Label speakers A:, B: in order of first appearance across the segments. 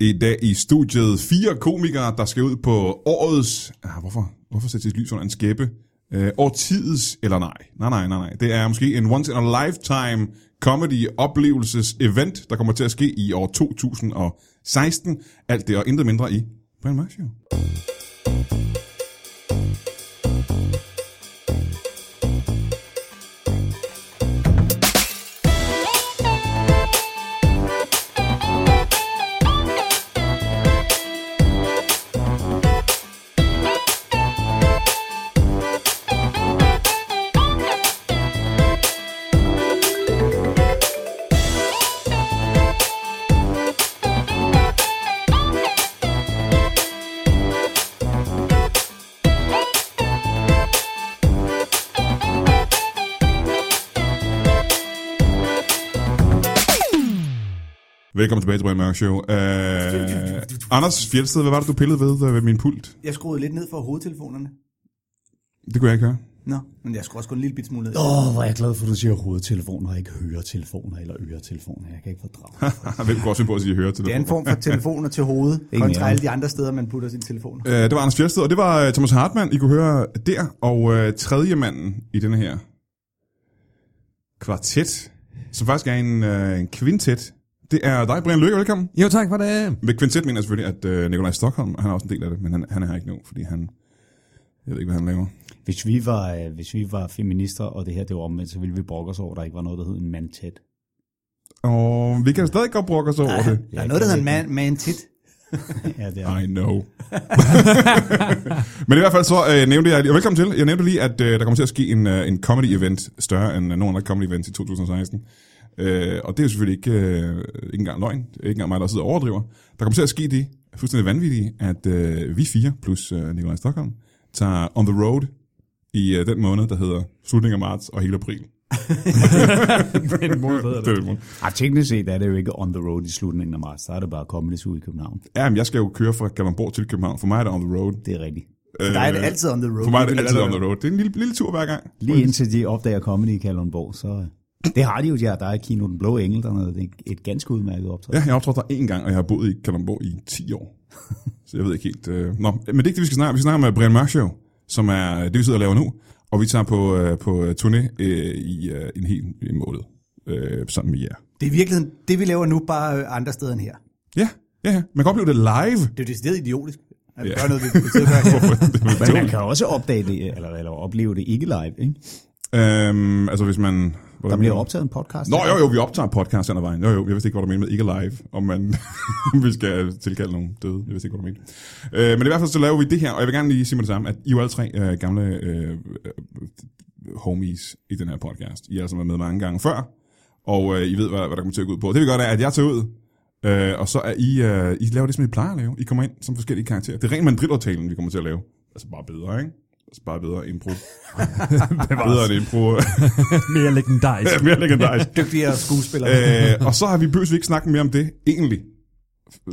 A: I dag i studiet fire komikere, der skal ud på årets... Ah, hvorfor, hvorfor sættes lys under en skæppe? Øh, årtidets, eller nej, nej, nej, nej, nej. Det er måske en once in a lifetime comedy oplevelses event, der kommer til at ske i år 2016. Alt det og intet mindre i Brian Mørk Show. Velkommen tilbage til Brian Mørk Show. Øh, Anders Fjeldsted, hvad var det, du pillede ved, øh, ved min pult?
B: Jeg skruede lidt ned for hovedtelefonerne.
A: Det kunne jeg ikke høre.
B: Nå, men jeg skruede også kun en lille bit smule ned.
C: Åh, oh, hvor er jeg glad for, at du siger hovedtelefoner, og ikke høretelefoner eller øretelefoner. Jeg kan ikke fordrage. det.
A: Hvem kunne også finde på at sige hører til
B: Det er en form for telefoner til hovedet, kontra alle de andre steder, man putter sine telefoner.
A: Øh, det var Anders Fjeldsted, og det var øh, Thomas Hartmann, I kunne høre der, og øh, tredje manden i den her kvartet, som faktisk er en, øh, en kvintet, det er dig, Brian Løkke, velkommen.
D: Jo, tak for det.
A: Med kvintet mener jeg selvfølgelig, at øh, Nikolaj Stockholm, han er også en del af det, men han, han er her ikke nu, fordi han, jeg ved ikke, hvad han laver.
C: Hvis vi, var, øh, hvis vi var feminister, og det her det var omvendt, så ville vi brokke os over, at der ikke var noget, der hed en mandtæt.
A: Og vi kan stadig godt brokke os over det.
B: Der er noget, der hedder en man, man tit.
C: Ja, det er.
A: I know. Men i hvert fald så øh, nævnte jeg, og velkommen til, jeg nævnte lige, at øh, der kommer til at ske en, øh, en comedy-event, større end øh, nogen andre comedy-events i 2016. Øh, og det er jo selvfølgelig ikke, øh, ikke engang løgn, det er ikke engang mig, der sidder og overdriver. Der kommer til at ske det fuldstændig vanvittige, at øh, vi fire plus øh, Nikolaj Stockholm tager on the road i øh, den måned, der hedder slutningen af marts og hele april.
D: En måned bedre,
A: Det er det, måned.
C: Ah, teknisk set er det jo ikke on the road i slutningen af marts, så er det bare Comedy Zoo i København.
A: Jamen, jeg skal jo køre fra Kalundborg til København. For mig er det on the road. Øh,
C: Det er rigtigt.
B: For dig er det altid on the road.
A: For mig er det altid on the road. Det er en lille, lille tur hver gang.
C: Lige indtil de opdager Comedy i Kalundborg, så... øh, Det har de jo, ja. Der er Kino Den Blå Engel dernede. Det er et ganske udmærket optræden.
A: Ja, jeg har optrådt der en gang, og jeg har boet i Kalundborg i 10 år. Så jeg ved ikke helt... Øh... Nå, men det er ikke det, vi skal snakke om. Vi snakker med Brian Mørk Show, som er det, vi sidder og laver nu. Og vi tager på, øh, på øh, turné øh, i øh, en hel måned øh, sammen med jer.
B: Det er i virkeligheden, det vi laver nu, bare øh, andre steder end her.
A: Ja, ja, ja. Man kan opleve det live.
B: Det er jo decideret idiotisk. At vi
A: Ja.
B: gør noget, vi vi sidder og gør her.
A: Det er
C: Men man
A: dumt.
C: kan også opdage det, eller, eller opleve det ikke live, ikke?
A: øhm, altså, hvis man...
C: Der bliver optaget en podcast.
A: Nå, jo, jo, vi optager podcast hen ad vejen. Jo, jo, jeg vidste ikke, hvad du mente med ikke live, om man, om vi skal tilkalde nogen døde. Jeg vidste ikke, hvad du mente. Øh, men i hvert fald så laver vi det her, og jeg vil gerne lige sige med det samme, at I er jo alle tre øh, gamle øh, øh, homies i den her podcast. I har altså været med mange gange før, og øh, I ved, hvad, hvad der kommer til at gå ud på. Det vi gør, det er, at jeg tager ud, øh, og så er I, øh, I laver det, som I plejer at lave. I kommer ind som forskellige karakterer. Det er rent mandrilertalen, vi kommer til at lave. Altså bare bedre, ikke? Altså bare bedre impro. bedre end impro.
D: Mere legendarisk.
A: Mere legendarisk.
B: Dygtigere skuespillere.
A: Øh, og så har vi bøs ikke snakket mere om det, egentlig.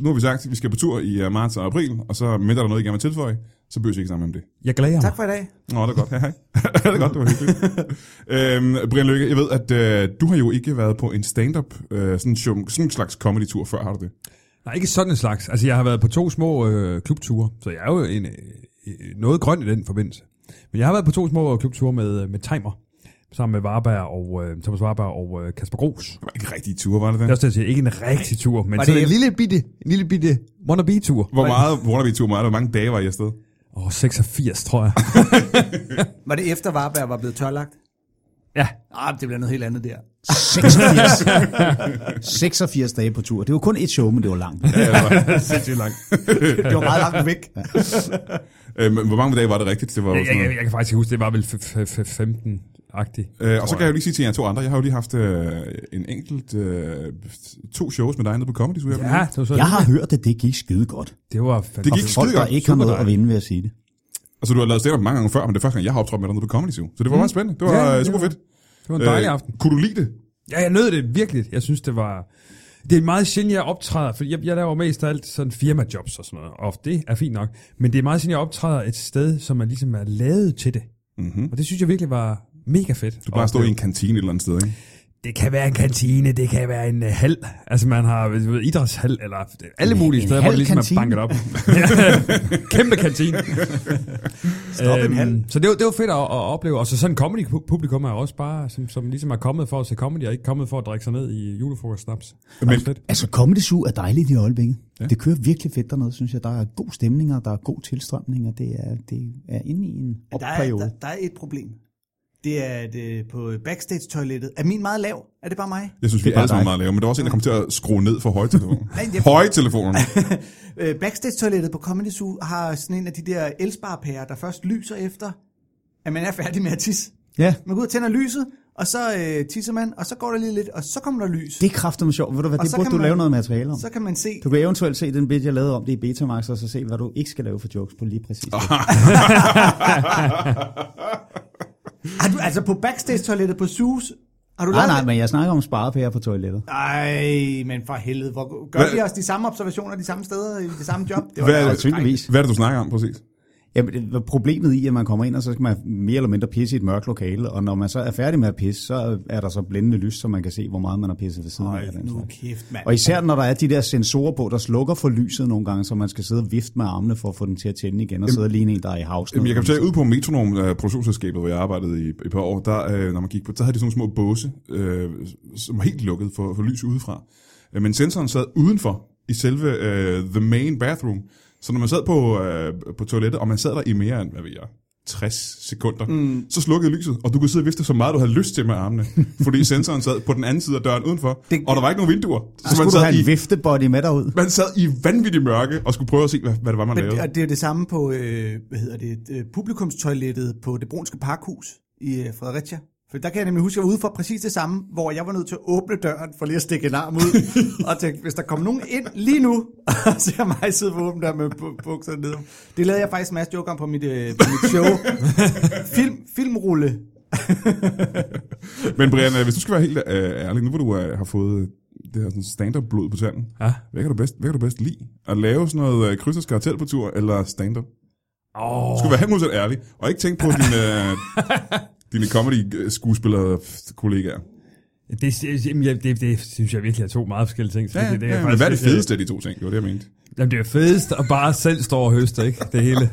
A: Nu har vi sagt, at vi skal på tur i øh, marts og april, og så mindre der noget, I gerne vil tilføje, så bøs vi ikke sammen om det.
D: Jeg glæder mig.
B: Tak for i dag.
A: Nå, det er godt. Hej, hej. det er godt, det var hyggeligt. øhm, Brian Lykke, jeg ved, at øh, du har jo ikke været på en stand-up, øh, sådan, en show, sådan en slags comedy-tur før, har du det?
D: Nej, ikke sådan en slags. Altså, jeg har været på to små øh, klubture, så jeg er jo en, øh, øh, noget grøn i den forbindelse. Men jeg har været på to små klubture med, øh, med Timer, sammen med Varberg og, øh, Thomas Varberg og øh, Kasper Gros.
A: Det var ikke rigtig tur, var det det?
D: Jeg er også til at sige, ikke en rigtig tur, men
B: Var
D: sådan
B: det-
D: en lille bitte, en lille bitte wannabe-tur.
A: Hvor meget wannabe-tur var det? Hvor mange dage var I afsted?
D: Åh, 86, tror jeg.
B: Var det efter Varberg var blevet tørlagt?
D: ja,
B: Ah, det bliver noget helt andet der.
C: 86, 86 dage på tur. Det var kun et show, men det var langt.
A: Ja, det var sindssygt langt.
B: Det var meget langt væk.
A: øhm, hvor mange dage var det rigtigt? Det var jo
D: jeg,
A: sådan
D: jeg,
A: noget.
D: jeg, kan faktisk ikke huske, det var vel f- f- f- 15-agtigt.
A: Øh, og så kan jeg jo lige sige til jer to andre, jeg har jo lige haft øh, en enkelt, øh, to shows med dig nede på Comedy Zoo. her for
D: Ja, det var, så,
C: Jeg har hørt, at det gik skide godt.
D: det var
A: Det
D: fantastisk.
A: gik
C: Folk,
A: skide
C: der
A: godt.
C: ikke har noget at vinde ved at sige det.
A: Altså, du har lavet stand-up mange gange før, men det er første gang, jeg har optrådt med dig nede på Comedy Zoo. Så det var meget spændende. Det var
D: Mm. Ja, ja,
A: ja,
D: det
A: super
D: var-
A: fedt.
D: Det var en dejlig aften.
A: Kunne du lide det?
D: Ja, jeg nød det virkelig. Jeg synes, det var... Det er meget sjældent, jeg optræder, for jeg, jeg laver mest af alt sådan firmajobs og sådan noget, og det er fint nok. Men det er meget sjældent, jeg optræder et sted, som er ligesom er lavet til det. Mm-hmm. Og det synes jeg virkelig var mega fedt.
A: Du bare stå i en kantine et eller andet sted, ikke?
D: det kan være en kantine, det kan være en uh, hal. Altså man har du ved, idrætshal, eller alle mulige
C: en
D: steder, hvor det ligesom
C: halvkantine.
D: er banket op. Kæmpe kantine. Øhm,
B: Stop en hal.
D: så det var, det var fedt at, at opleve. Og så sådan comedy-publikum er jo også bare, som, som ligesom er kommet for at se comedy, og ikke kommet for at drikke sig ned i julefrokostsnaps.
A: Men-
D: Absolut.
C: Altså, Comedy Zoo er dejligt i øjeblikket. Ja. Det kører virkelig fedt dernede, synes jeg. Der er god stemning, og der er god tilstrømning, og det er, det er inde i en
B: Der er,
C: opperiode.
B: der, der er et problem. Det er, at øh, på backstage-toilettet, er min meget lav? Er det bare mig?
A: Jeg synes, vi
C: Det er bare
A: alle sammen
C: dig.
A: meget lave, men der er også en, der kom til at skrue ned for højtelefonen.
B: jeg-
A: højtelefonen.
B: Øh, backstage-toilettet på Comedy Zoo har sådan en af de der elsparepærer, der først lyser efter, at man er færdig med at tisse.
C: Ja,
B: Man går ud og tænder lyset, og så øh, tisser man, og så går der lige lidt, og så kommer der lys.
C: det er kraftigt sjovt. Ved du hvad,
B: Og
C: det
B: så
C: burde
B: kan
C: du
B: man-
C: lave noget materiale om.
B: Så kan man se,
C: Du kan eventuelt se den bit, jeg lavede om det i Betamax, og så se, hvad du ikke skal lave for jokes på lige præcis. Oh.
B: har du, altså på backstage-toilettet på Zoos, har du
C: Nej,
B: lavet
C: nej, men jeg snakker om sparepærer på toilettet.
B: Ej, men for helvede, hvor gør
A: Hvad-
B: vi os de samme observationer de samme steder i det samme job? Det
A: Hvad,
B: da
A: er
C: Og
A: det-
B: også dejligt.
C: tydeligvis.
A: Hvad er det, du snakker om præcis?
C: Jamen, det- problemet i, at man kommer ind, og så skal man mere eller mindre pisse i et mørkt lokale, og når man så er færdig med at pisse, så er der så blændende lys, så man kan se, hvor meget man har pisset ved siden af. og den
B: Nu
C: slags.
B: kæft, mand.
C: Og især når der er de der sensorer på, der slukker for lyset nogle gange, så man skal sidde og vifte med armene for at få den til at tænde igen, og sidde lige en, der er i havs.
A: Jamen, jeg kan fortælle, ud på Metronom, øh, produktionsselskabet, hvor jeg arbejdede i et par år, der, øh, når man gik på, der havde de sådan nogle små båse, øh, som var helt lukket for, for lys udefra. Øh, Men sensoren sad udenfor i selve øh, the main bathroom. Så når man sad på, øh, på toilettet, og man sad der i mere end, hvad ved jeg, 60 sekunder, mm. så slukkede lyset, og du kunne sidde og vifte så meget, du havde lyst til med armene, fordi sensoren sad på den anden side af døren udenfor, det,
B: Det-
A: og der var ikke nogen vinduer. Så man
C: skulle du
A: sad,
C: have en
A: i,
C: viftebody med derud?
A: man sad i vanvittig mørke, og skulle prøve at se, hvad, hvad det var, man
B: Men
A: lavede.
B: det, og det er jo det samme på, øh, hvad hedder det, øh, publikumstoilettet på det brunske parkhus i øh, Fredericia. For der kan jeg nemlig huske, at jeg var ude for præcis det samme, hvor jeg var nødt til at åbne døren for lige at stikke en arm ud. og tænkte, hvis der kom nogen ind lige nu, og ser mig sidde på åben dør med bu- bukserne ned. Det lavede jeg faktisk en masse joke om på mit, øh, på mit show. Film, filmrulle.
A: Men Brian, øh, hvis du skal være helt øh, ærlig, nu hvor du øh, har fået øh, det her sådan stand-up-blod på tanden,
D: Ja.
A: hvad kan, du bedst, hvad kan du bedst lide? At lave sådan noget øh, kryds og skartel på tur, eller stand-up? Du
D: Åh,
A: skal være 100% ærlig, og ikke tænke på dine, øh, dine øh, comedy-skuespillere-kollegaer.
D: det, jamen, jeg- det, det, synes jeg virkelig er to meget forskellige ting. Så
A: Ja,
D: det, det,
A: ja,
D: er
A: men
D: faktisk
A: hvad er det
D: lidt, øh,
A: fedeste af de to ting? Det var det, jeg mente.
D: Jamen, det er fedest at bare selv stå og høste, ikke? Det hele. der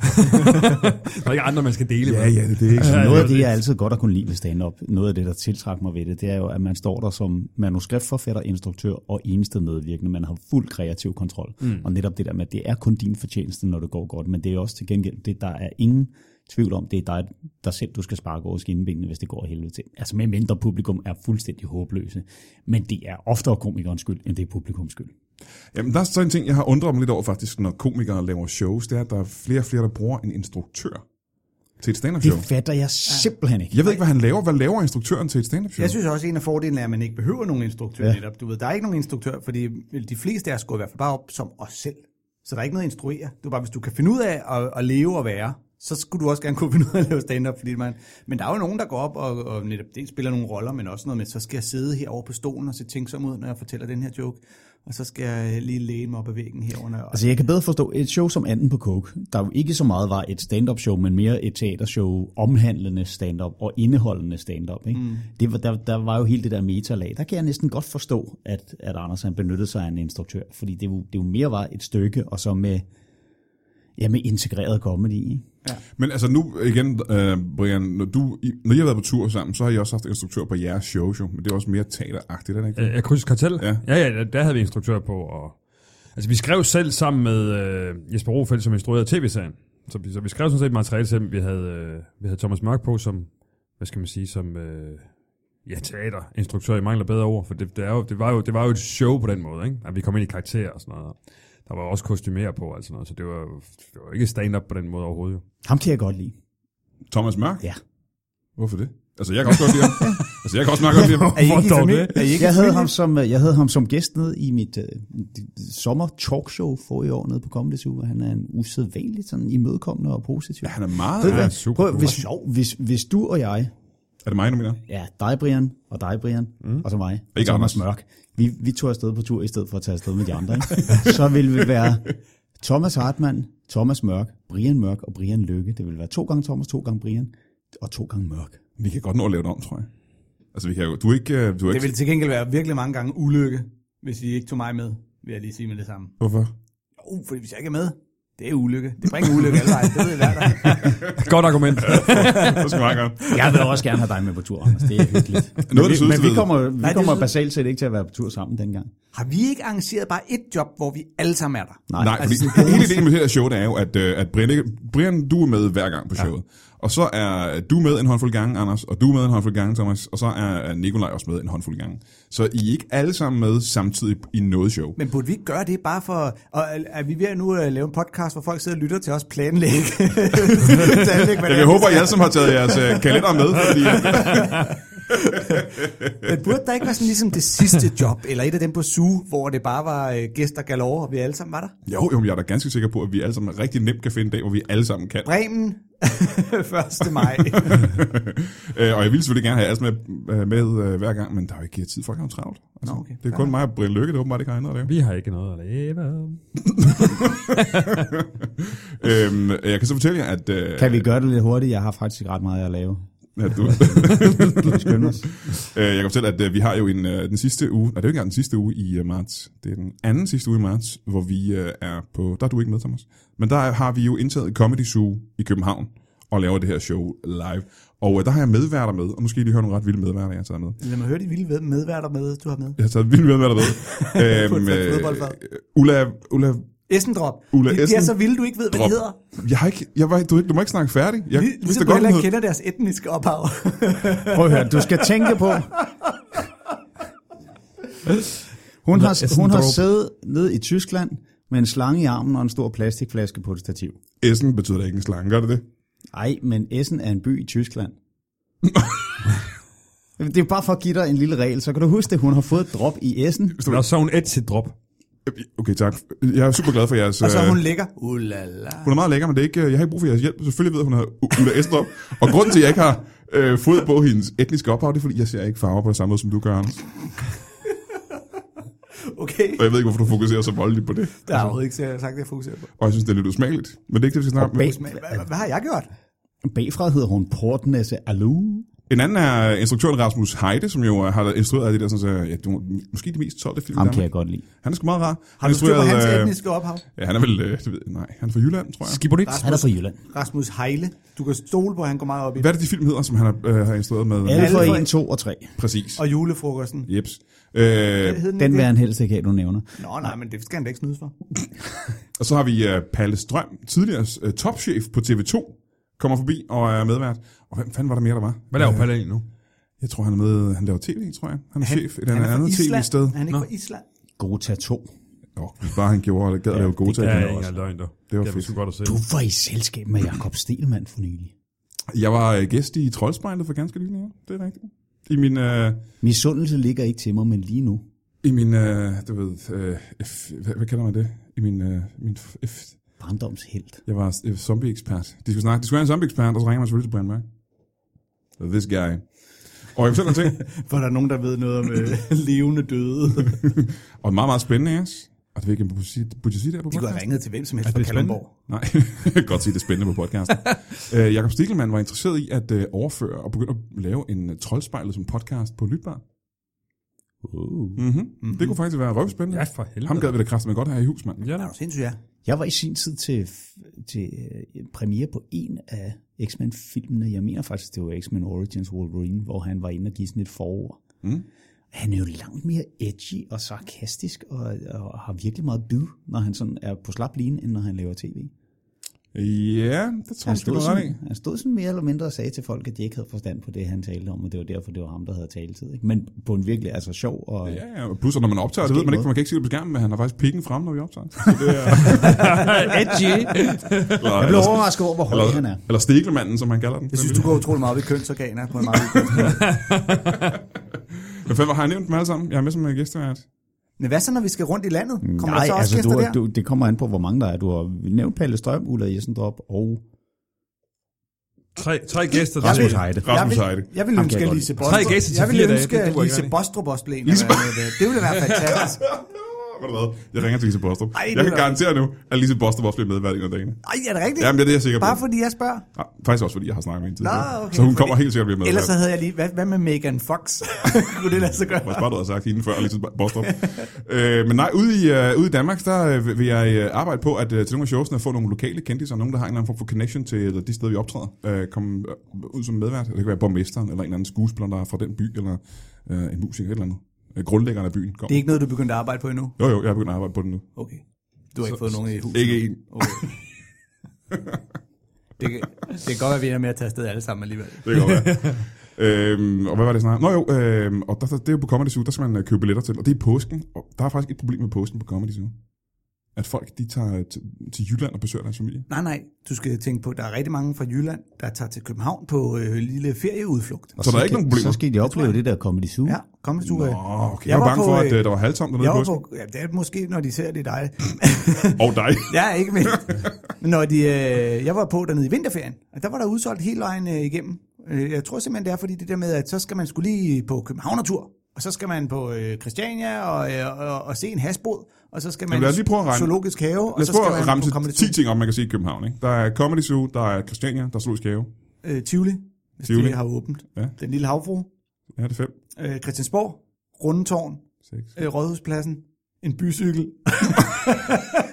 D: er ikke andre, man skal dele med.
A: det, det er ikke
C: Altså, noget af det,
D: det er
C: jeg altid godt har kunnet lide ved stand-up, noget af det, der tiltrækker mig ved det, det er jo, at man står der som manuskriptforfatter, instruktør og eneste medvirkende. Man har fuld kreativ kontrol. Mm. Og netop det der med, at det er kun din fortjeneste, når det går godt, men det er også til gengæld det, der er ingen tvivl om, det er dig, der selv du skal sparke over skinnebenene, hvis det går af helvede til. Altså med mindre publikum er fuldstændig håbløse. Men det er oftere komikernes skyld, end det er publikums skyld.
A: Jamen, der er sådan en ting, jeg har undret mig lidt over faktisk, når komikere laver shows, det er, at der er flere og flere, der bruger en instruktør til et stand-up-show.
C: Det fatter jeg simpelthen ikke.
A: Jeg ved ikke, hvad han laver. Hvad laver instruktøren til et stand-up-show?
B: Jeg synes også, at en af fordelene er, at man ikke behøver nogen instruktør ja. netop. Du ved, der er ikke nogen instruktør, fordi de fleste af os går i hvert fald bare op som os selv. Så der er ikke noget at instruere. Du bare, hvis du kan finde ud af at, at leve og være, så skulle du også gerne kunne finde ud af at lave stand-up. Fordi man, men der er jo nogen, der går op og, og netop dels spiller nogle roller, men også noget med, så skal jeg sidde herovre på stolen og se tænksom ud, når jeg fortæller den her joke. Og så skal jeg lige læne mig op ad væggen herunder. Og
C: Altså, jeg kan bedre forstå et show som Anden på Coke, der jo ikke så meget var et stand-up show, men mere et teatershow, omhandlende stand-up og indeholdende stand-up. Ikke? Mm. Det var, der, der var jo helt det der metalag. Der kan jeg næsten godt forstå, at, at Anders han benyttede sig af en instruktør, fordi det jo, det jo mere var et stykke, og så med, ja, med integreret comedy. Ikke?
A: Men altså nu igen, øh, Brian, når, du, I, når I har været på tur sammen, så har I også haft instruktør på jeres show, jo, men det er også mere teateragtigt, er det ikke?
D: Øh, Jeg krydser kartel?
A: Ja.
D: ja, ja der, der havde vi instruktør på. Og, altså, vi skrev selv sammen med øh, Jesper Rofeldt, som instruerede tv-serien. Så, vi- så vi skrev sådan set materiale selv. Vi havde, øh, vi havde Thomas Mørk på som, hvad skal man sige, som øh, ja, teaterinstruktør. Jeg mangler bedre ord, for det, det, er jo, det, var jo, det var jo et show på den måde, ikke? At vi kom ind i karakter og sådan noget. Der var også kostumer på, altså noget, så det var, jo- det var jo ikke stand-up på den måde overhovedet. Jo.
C: Ham kan jeg godt lide.
A: Thomas Mørk?
C: Ja.
A: Hvorfor det? Altså, jeg kan også godt lide ham. altså, jeg kan også meget godt lide ham.
B: I ikke i
D: Hvor dog
B: familie?
D: det?
B: Er I ikke i
C: Jeg havde,
B: familie?
C: ham som, øh, jeg havde ham som gæst ned i mit øh, sommer talkshow for i år nede på Comedy Zoo, og han er en usædvanligt sådan imødekommende og positiv.
A: Ja, han er meget...
C: Ved du
A: Ja.
C: hvad?
D: super
C: Prøv,
D: cool.
C: hvis, hvis, hvis du og jeg,
A: Er det mig, du mener?
C: ja, dig Brian, og dig Brian, mm. og så mig, og
A: Ikke
C: så
A: Anders.
C: Mørk, vi, vi tog afsted på tur i stedet for at tage afsted med de andre, ikke? så ville vi være Thomas Hartmann, Thomas Mørk, Brian Mørk og Brian Lykke. Det ville være to gange Thomas, to gange Brian, og to gange Mørk.
A: Vi kan godt nå at lave det om, tror jeg. Altså, vi kan jo, du er ikke... øh, Du er
B: Det
A: ikke
B: ville til gengæld være virkelig mange gange ulykke, hvis I ikke tog mig med, vil jeg lige sige med det samme.
A: Hvorfor?
B: Uh, fordi hvis jeg ikke er med, det er ulykke. Det bringer ulykke alle vejen, det ved jeg hver dag.
D: Godt argument.
A: Det skal meget godt.
C: Jeg vil også gerne have dig med på tur, Anders. Det er hyggeligt.
A: Noget af det
C: men, vi, men
A: sødeste
C: vi
A: ved-
C: kommer, vi
B: Nej, det
C: kommer
B: synes-
C: basalt set ikke til at være på tur sammen dengang.
B: Har vi ikke arrangeret bare et job, hvor vi alle sammen er der?
C: Nej.
A: Nej, fordi
B: Altså
A: hele ideen med det her show, det er jo, at, øh, at Brian, ikke- Brian, du er med hver gang på showet. Og så er du med en håndfuld gange, Anders, og du er med en håndfuld gange, Thomas, og så er Nikolaj også med en håndfuld gange. Så I er ikke alle sammen med samtidig i noget show.
B: Men burde vi ikke gøre det bare for... Og er er vi ved at nu at lave en podcast, hvor folk sidder og lytter til os planlægge? planlægge hvad
A: Jeg, jeg håber, I alle sammen har taget jeres øh, kalender med, fordi
B: Men burde der ikke være sådan ligesom det sidste job, eller et af dem på SU, hvor det bare var øh, gæster galore, og vi alle sammen var der?
A: jo, jo, men jeg er da ganske sikker på, at vi alle sammen rigtig nemt kan finde en dag, hvor vi alle sammen kan.
B: Bremen, 1. maj.
A: Øh, og jeg ville selvfølgelig gerne have Asma med, med øh, hver gang, men der er jo ikke tid, folk har jo travlt. Altså,
B: Nå, okay.
A: Det er kun mig og Brian Lykke, der åbenbart ikke har andet at lave.
D: Vi har ikke noget at leve.
A: Øhm, jeg kan så fortælle jer, at... Øh,
C: Kan vi gøre det lidt hurtigt? Jeg har faktisk ret meget at lave.
A: at du,
C: Kan vi skynde os?
A: Øh, Jeg kan fortælle, at øh, vi har jo en, øh, den sidste uge, nej, det er jo ikke engang den sidste uge i øh, marts, det er den anden sidste uge i marts, hvor vi øh, er på, der er du ikke med, Thomas, men der har vi jo indtaget Comedy Zoo i København og laver det her show live. Og øh, der har jeg medværter med, og måske lige høre nogle red vilde medværter, jeg har taget med.
B: Lad mig høre de vilde ved- medværter med, du har med.
A: Jeg har taget vilde medværter med.
B: På et
A: Øhm, øh,
B: fodboldfad.
A: Ulla, Ulla,
B: Essendrop.
A: Ulla
B: de, de er
A: Essen-
B: så vilde, du ikke ved, hvad
A: Drop.
B: de hedder.
A: jeg har ikke, jeg var, du, ikke- du må ikke snakke færdig. Jeg
B: Lige-
A: vidste
B: Ligesom
A: da
B: du
A: godt,
B: heller
A: hun
B: ikke
A: hed-
B: kender deres etniske ophav.
C: Prøv at høre, du skal tænke på... Hun har, hun har siddet nede i Tyskland med en slange i armen og en stor plastikflaske på et stativ.
A: Essen betyder da ikke en slange, gør det det?
C: Ej, men Essen er en by i Tyskland. det er bare for at give dig en lille regel, så kan du huske det, hun har fået et drop i Essen.
D: Og så en Etsy-drop.
A: Øh, Okay, tak. Jeg er super glad for jeres...
B: og så er
A: øh,
B: hun lækker. Ulala.
A: Hun er meget lækker, men det er ikke, øh, jeg har ikke brug for jeres hjælp. Selvfølgelig ved jeg, hun har U- Ulla Estrup. Og grunden til, at jeg ikke har øh, fod på hendes etniske ophav, det er, fordi jeg ser ikke farver på samme måde, som du gør, Anders.
B: Okay.
A: Og jeg ved ikke, hvorfor du fokuserer så voldeligt på det.
B: Der har overhovedet ikke sagt, at jeg fokuserer på.
A: Og jeg synes, det er lidt usmageligt. Men det er ikke det, vi skal snakke om.
C: Bag,
B: Men hvad, hvad, hvad har jeg gjort?
C: bagfra hedder hun Portnæsse Alu.
A: En anden er instruktøren Rasmus Heide, som jo øh, har instrueret af det der, sådan, så, ja, du, måske de mest solgte film i
C: Ham kan
A: Danmark.
C: jeg godt lide.
A: Han er sgu meget rar.
B: Har du styr på hans
A: øh,
B: etniske ophav?
A: Ja, han er vel... Øh, det ved, jeg- nej, han er fra Jylland, tror jeg.
D: Skibonit.
C: Han er fra Jylland.
B: Rasmus Heile. Du kan stole på, at han går meget op i det.
A: Hvad er det, de film hedder, som han har, øh, har instrueret med?
C: Alle
B: Alle
C: for
B: for
C: 1, 2 og 3.
A: Præcis.
B: Og julefrokosten.
A: Jeps. Øh,
B: Hed den
C: Den
B: ikke
C: vil
B: det?
C: han helst ikke have, du nævner.
B: Nå, nej, men det skal han da ikke snydes for.
A: Og så har vi uh, Palle Strøm, tidligere uh, topchef på TV2, kommer forbi og er medvært. Og hvem fanden var der mere, der var?
D: Hvad laver Palle egentlig nu?
A: Jeg tror, han er med, han laver tv, tror jeg. Han er han, chef et
B: Han
A: eller
B: er fra
A: andet
B: Island.
A: tv-sted.
B: Er Han er ikke fra Island.
C: Gota 2.
A: Nå, hvis bare han gjorde det, gad at lave gode
D: Ja,
A: tal.
D: ingen løgn, dog.
A: Det var
D: Det er
A: fedt.
D: sgu godt at se.
C: Du var i selskab med Jakob Stelmann for nylig.
A: Jeg var uh, gæst i Troldspejlet for ganske nylig, ja. Det er rigtigt. I min, uh,
C: Misundelse ligger ikke til mig, men lige nu.
A: i min, uh, du ved, uh, F, hvad, hvad kalder man det? I min, uh, min F,
C: Barndomshelt.
A: jeg var øh, zombie-ekspert. De skulle, snakke, de skulle have en zombie-ekspert, og så ringer man selvfølgelig til Brian Mørk. This guy. Og jeg fortæller en ting.
B: For der er nogen, der ved noget om øh, levende døde.
A: Og meget, meget spændende, yes. Og det ved jeg ikke, om du sige- burde jeg sige det her på
B: De kunne
A: podcasten?
B: have ringet til hvem som helst
D: Er
B: fra
D: det spændende?
B: Kalundborg.
A: Nej, jeg kan godt sige, det er spændende på podcasten. øh, Jakob Stikkelmann var interesseret i at øh, overføre og begynde at lave en uh, troldspejlet som podcast på Lytbar.
C: Uh.
A: Mm-hmm. Mm-hmm. Det kunne faktisk være røvspændende.
D: Ja, for helvede.
A: Ham gad vi da kraftigt godt have i hus, mand.
D: Ja,
B: Er
D: da.
B: du sindssyg, ja?
C: Jeg var i sin tid til, til øh, premiere på en af X-Men-filmene. Jeg mener faktisk, det var X-Men Origins Wolverine, hvor han var inde og give sådan et forord.
A: Mm.
C: Han er jo langt mere edgy og sarkastisk, og, og har virkelig meget bid, når han sådan er på slap line, end når han laver tv.
A: Ja, det tror
C: Han
A: jeg, sgu,
C: stod,
A: du har ret i.
C: sådan, han stod sådan mere eller mindre og sagde til folk, at de ikke havde forstand på det, han talte om, og det var derfor, det var ham, der havde taletid. Ikke? Men på en virkelig altså sjov og...
A: Ja, ja, og plus, og når man optager, det ved man ikke, for man kan ikke se det på skærmen, men han har faktisk pikken frem, når vi optager.
C: edgy!
A: Eller,
C: Jeg blev overrasket over, hvor høj han er.
A: Eller Stikkelmanden, som han kalder den.
B: Jeg synes, du går utrolig meget op i kønsorganer på en meget god måde.
A: Men fandme, har jeg nævnt dem alle sammen? Jeg er med som en gæstevært.
B: Men hvad så, når vi skal rundt i landet? Kommer
C: Nej,
B: der så også
C: altså,
B: gæster
C: du,
B: der?
C: har- du, det kommer an på, hvor mange der er. Du har nævnt Palle Strøm, Ulla Jessendrop og
D: Tre, tre gæster. der
C: Rasmus
D: er-
C: Heide.
B: jeg
A: Rasmus Heide.
B: vil, jeg vil
C: Ham
B: ønske,
C: kan jeg
B: at
C: godt
B: Lise
D: Tre gæster
B: Bostrup,
D: til
B: jeg vil
D: fire dage,
B: ønske,
D: det
B: at
D: duer ikke
B: Lise
D: rigtig.
B: Bostrup også blev en, der var med. Det ville være fantastisk.
A: ved du hvad? Jeg ringer til Lise Bostrup.
B: Ej, det
A: jeg kan
B: var-
A: garantere nu, at Lise Bostrup også bliver med hver en af dagene.
B: Ej, er det rigtigt?
A: Jamen, det er det, jeg er sikker på.
B: Bare fordi jeg spørger.
A: Nej, faktisk også, fordi jeg har snakket med hende tidligere.
B: Nå, okay,
A: så hun
B: fordi-
A: kommer helt sikkert at blive med.
B: Ellers
A: hver-
B: så havde jeg lige, hvad, hvad med Megan Fox? Kunne det lade sig gøre?
A: Hvor smart du havde sagt hende før, Lise Bostrup. øh, men nej, ude i, øh, ude i Danmark, der øh, vil jeg øh, arbejde på, at øh, til nogle af showsene få nogle lokale kendtiser, nogen, der har en eller anden form for connection til de steder, vi optræder. Øh, komme øh, ud som medvært. Det kan være borgmesteren, eller en eller anden skuespiller, der er fra den by, eller øh, en musiker, et eller andet. Øh, grundlæggeren af byen
B: Det er
A: kommer.
B: ikke noget, du er begyndt at arbejde på endnu?
A: Jo, jo, jeg er begyndt at arbejde på den nu.
B: Okay. Du har ikke fået nogen i huset?
A: Ikke en.
B: Okay. Det, kan, det kan godt være, at vi ender med at tage afsted alle sammen alligevel.
A: Det kan godt være. øhm, og hvad var det snart? Nå jo, øhm, og der, der, det er jo på Comedy Zoo, der skal man øh, købe billetter til, og det er i påsken. Og der er faktisk et problem med påsken på Comedy Zoo. At folk, de tager øh, til, til Jylland og besøger deres familie.
B: Nej, nej. Du skal tænke på, at der er rigtig mange fra Jylland, der tager til København på øh, lille ferieudflugt.
A: Og så, så der er ikke nogen problemer.
C: Så skal de opleve det der Comedy Zoo.
B: Ja, kom hvis du... øh. Nå,
A: Åh, okay. Jeg, var bange for, at øh, der var halvtomt dernede
B: jeg
A: i
B: var
A: påsken.
B: på, ja, det er måske, når de ser det er dig.
A: Og dig.
B: ja, ikke mindst. Men Når de, øh, jeg var på dernede i vinterferien, og der var der udsolgt hele vejen øh, igennem. Øh, Jeg tror simpelthen, det er fordi det der med, at så skal man skulle lige på Københavnertur, og så skal man på øh, Christiania og, øh, og, og se en hasbod, og så skal man
A: lad os lige prøve at regne.
B: zoologisk have,
A: Lad
B: og
A: os
B: så
A: prøve
B: skal
A: at
B: man på
A: ramse
B: Comedy
A: 10 ting om, man kan se i København. Ikke? Der er Comedy Zoo, der er Christiania, der er Zoologisk Have.
B: øh, Tivoli, hvis
A: Tivoli.
B: Tivoli. det har åbent.
A: Ja.
B: Ja. Den lille havfru,
A: Ja, det er 5,
B: øh, Christiansborg, Rundetårn,
A: 6.
B: øh, Rådhuspladsen, en bycykel.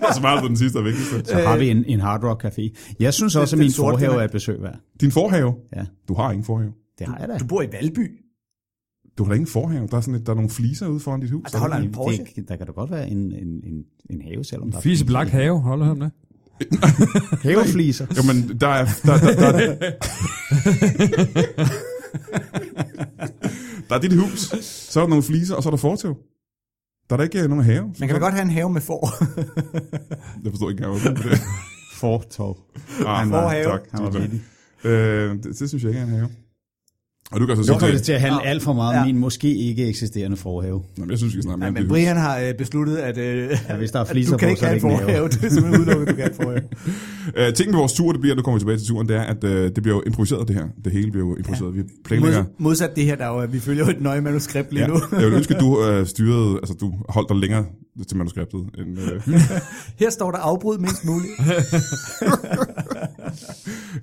A: Og så var det den sidste og vigtigste.
C: Så har
A: Øh,
C: vi en, en Hard Rock Café. Jeg synes også, at
B: den
C: min
B: sorte
C: forhave
B: diamant.
C: er et besøg værd.
A: Din forhave.
C: Ja,
A: Du har ingen forhave.
C: det har jeg da.
B: Du bor i Valby.
A: Du har da ingen forhave. Der er, sådan et, der er nogle fliser ude foran dit hus.
B: Ah, der holder en
C: Jamen,
B: Porsche.
C: Det, der kan da godt være en, en, en, en have, selvom der er
D: Fise Black Have, holder ham det?
C: havefliser.
A: Jamen, der er... Der, der, der, der, der er dit hus, så er der nogle fliser, og så er der fortæv. Der er der ikke øh, nogen have.
B: Man kan da godt have en have med får.
A: Jeg forstår ikke engang, hvorfor det er.
C: Fortov.
A: Ah,
C: Han var-
A: nej,
B: forhave.
A: tak.
C: Han var
A: Det er
C: vittig.
A: Øh, det, det, synes jeg ikke er en have. Og du kan så
C: Nu
A: sige
C: kommer det
A: til...
C: til at handle alt for meget om
B: Ja.
C: min måske ikke eksisterende forhave.
A: Nå, men jeg synes, vi skal snakke mere
B: Ja,
A: om
B: men
A: det.
B: Brian har øh, besluttet, at, øh,
C: Ja, hvis der er
B: at
C: fliser
B: du kan
C: på,
B: ikke
C: så er
B: have
C: det
B: en
C: ikke en
B: forhave. Det er simpelthen udelukket, du kan have en forhave.
A: Øh, ting med vores tur, det bliver, nu kommer vi tilbage til turen, det er, at øh, det bliver jo improviseret, det her. Det hele bliver jo improviseret. Ja. Vi planlægger...
B: Mods, modsat det her, der er jo, at vi følger jo et nøje manuskript lige
A: Ja,
B: ja. nu.
A: jeg ville ønske, at du øh, styrede, altså du holdt dig længere til manuskriptet. End, øh.
B: Her står der afbrud mindst muligt.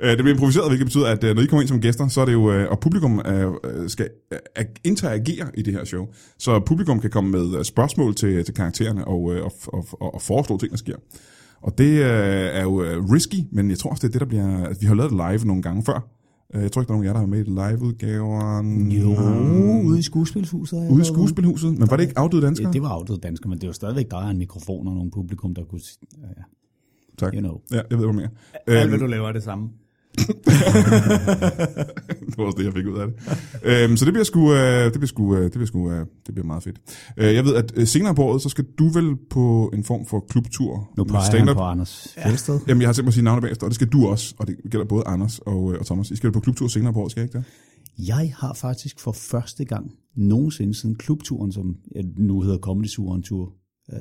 A: Øh, det bliver improviseret, hvilket betyder, at øh, når I kommer ind som gæster, så er det jo, øh, og publikum øh, øh, skal øh, ag- interagere i det her show. Så publikum kan komme med øh, spørgsmål til, til karaktererne og, øh, og, og, og, og foreslå ting, der sker. Og det øh, er jo øh, risky, men jeg tror også, det er det, der bliver... Altså, vi har lavet det live nogle gange før. Øh, Jeg tror ikke, der er nogen af jer, der har med i live-udgaveren.
C: Jo,
B: Uh,
C: ude i skuespilshuset. har jeg
A: Ude i
C: været
A: skuespilhuset. Men var det ikke afdøde danskere?
C: Ja, det var afdøde dansker, men det var stadigvæk, der er en mikrofon og nogle publikum, der kunne... s- Ja, ja.
A: tak.
C: you know.
A: Ja, jeg ved, hvad mere. Øh,
B: Alt, hvad du laver, er det samme.
A: det var også det, jeg fik ud af det. øhm, så det bliver sgu, øh, det bliver sgu, øh, det bliver sgu, øh, det bliver meget fedt. Øh, jeg ved, at øh, senere på året, så skal du vel på en form for klubtur.
C: Nu
A: med
C: peger han
A: stand-up.
C: på Anders Fjeldsted.
A: Jamen, jeg har tænkt mig at sige navnet bagefter, og det skal du også, og det gælder både Anders og, øh, og Thomas. I skal på klubtur senere på året, skal I ikke det?
C: Jeg har faktisk for første gang nogensinde siden klubturen, som øh, nu hedder Comedy Suren Tour, øh,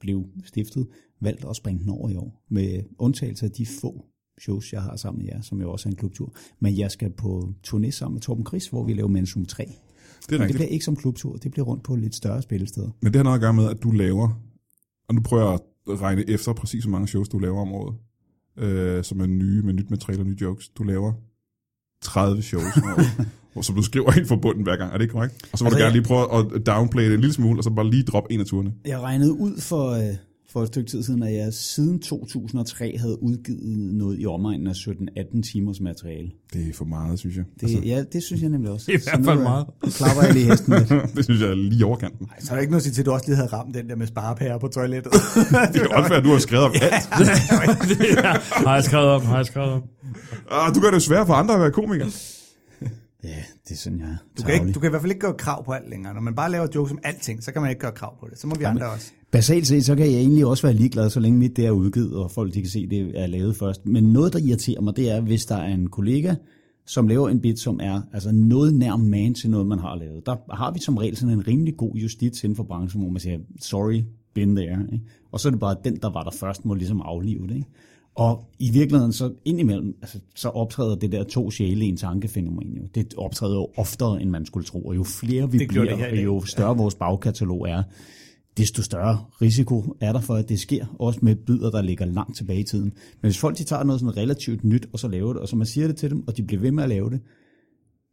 C: blev stiftet, valgt at springe den over i år. Med undtagelse af de få shows, jeg har sammen med jer, som jo også er en klubtur. Men jeg skal på turné sammen med Torben Chris, hvor vi laver Mensum 3.
A: Det er
C: Men det
A: rigtigt.
C: bliver ikke som klubtur, det bliver rundt på lidt større spillesteder.
A: Men det har noget at gøre med, at du laver, og nu prøver jeg at regne efter præcis, hvor mange shows du laver om året, øh, som er nye, med nyt materiale og nye jokes. Du laver 30 shows om året, og som du skriver ind fra bunden hver gang. Er det ikke korrekt? Og så må altså, du
B: Altså,
A: gerne
B: jeg-
A: lige prøve at downplay det en lille smule, og så bare lige droppe en af turene.
C: Jeg regnede ud for, øh, for et stykke tid siden, at jeg siden 2003 havde udgivet noget i omegnen af 17-18 timers materiale.
A: Det er for meget, synes jeg.
C: Det, altså, ja, det synes jeg nemlig også.
D: Det er i
C: Så
D: hvert
C: nu
D: fald
C: er-
D: meget.
C: Nu klapper jeg lige hesten lidt.
A: det synes jeg er lige i overkanten.
B: Så er der ikke noget at sige til, at du også lige havde ramt den der med sparepærer på toilettet.
A: Det er godt være, at du har skrevet om alt.
D: ja, har jeg skrevet om, har jeg skrevet om.
A: Ah, du gør det jo sværere for andre at være komiker.
C: Ja, det er sådan, jeg er.
B: Du kan, ikke, du kan i hvert fald ikke gøre krav på alt længere. Når man bare laver jokes om alting, så kan man ikke gøre krav på det. Så må vi andre også.
C: Basalt set, så kan jeg egentlig også være ligeglad, så længe mit det er udgivet, og folk de kan se, det er lavet først. Men noget, der irriterer mig, det er, hvis der er en kollega, som laver en bit, som er altså noget nær man til noget, man har lavet. Der har vi som regel sådan en rimelig god justits inden for branchen, hvor man siger, sorry, been there. Ikke? Og så er det bare, at den, der var der først, må ligesom aflive det. Ikke? Og i virkeligheden, så indimellem, altså, så optræder det der to sjæle i en tankefænomen jo. Det optræder jo oftere, end man skulle tro, og jo flere vi
B: Det gjorde
C: bliver,
B: det her i
C: og
B: dag.
C: jo større vores bagkatalog er, desto større risiko er der for, at det sker, også med bidder, der ligger langt tilbage i tiden. Men hvis folk de tager noget sådan relativt nyt, og så laver det, og så man siger det til dem, og de bliver ved med at lave det,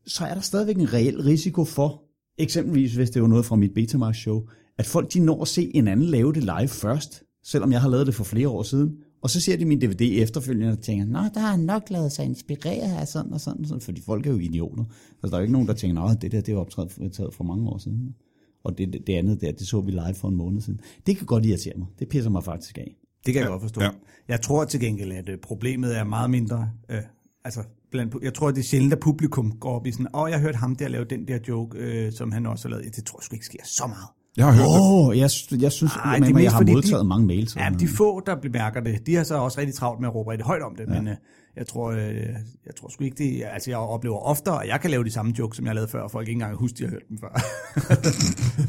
C: så er der stadigvæk en reel risiko for, eksempelvis hvis det var noget fra mit Betamax show, at folk de når at se en anden lave det live først, selvom jeg har lavet det for flere år siden, og så ser de min DVD efterfølgende og tænker, nå, der har han nok lavet sig inspirere af sådan og sådan, og sådan, fordi folk er jo idioter. Altså, der er jo ikke nogen, der tænker, nej, det der, det er optaget for mange år siden. Og det, det andet der, det så vi live for en måned siden. Det kan godt irritere mig. Det pisser mig faktisk af.
B: Det kan jeg ja, godt forstå.
A: ja.
B: Ja. Jeg tror til gengæld, at øh, problemet er meget mindre. Øh, altså, blandt, jeg tror, at det er sjældent, at publikum går op i sådan, åh, jeg hørte ham der lave den der joke, øh, som han også har lavet. Ja, Det tror jeg sgu ikke sker så meget.
A: Jeg har hørt oh. det.
C: Åh, oh, jeg, sy- jeg synes,
B: Ej,
C: Ej,
B: det er
C: det
B: mest
C: jeg har
B: fordi de-
C: modtaget de... mange mails.
B: Ja, men de få, der bemærker det, de har så også rigtig travlt med at råbe rigtig højt om det, ja. men øh, jeg tror, øh, jeg tror sgu ikke det. Altså, jeg oplever oftere, at jeg kan lave de samme jokes, som jeg lavede før, og folk ikke engang husker, at de har hørt dem før.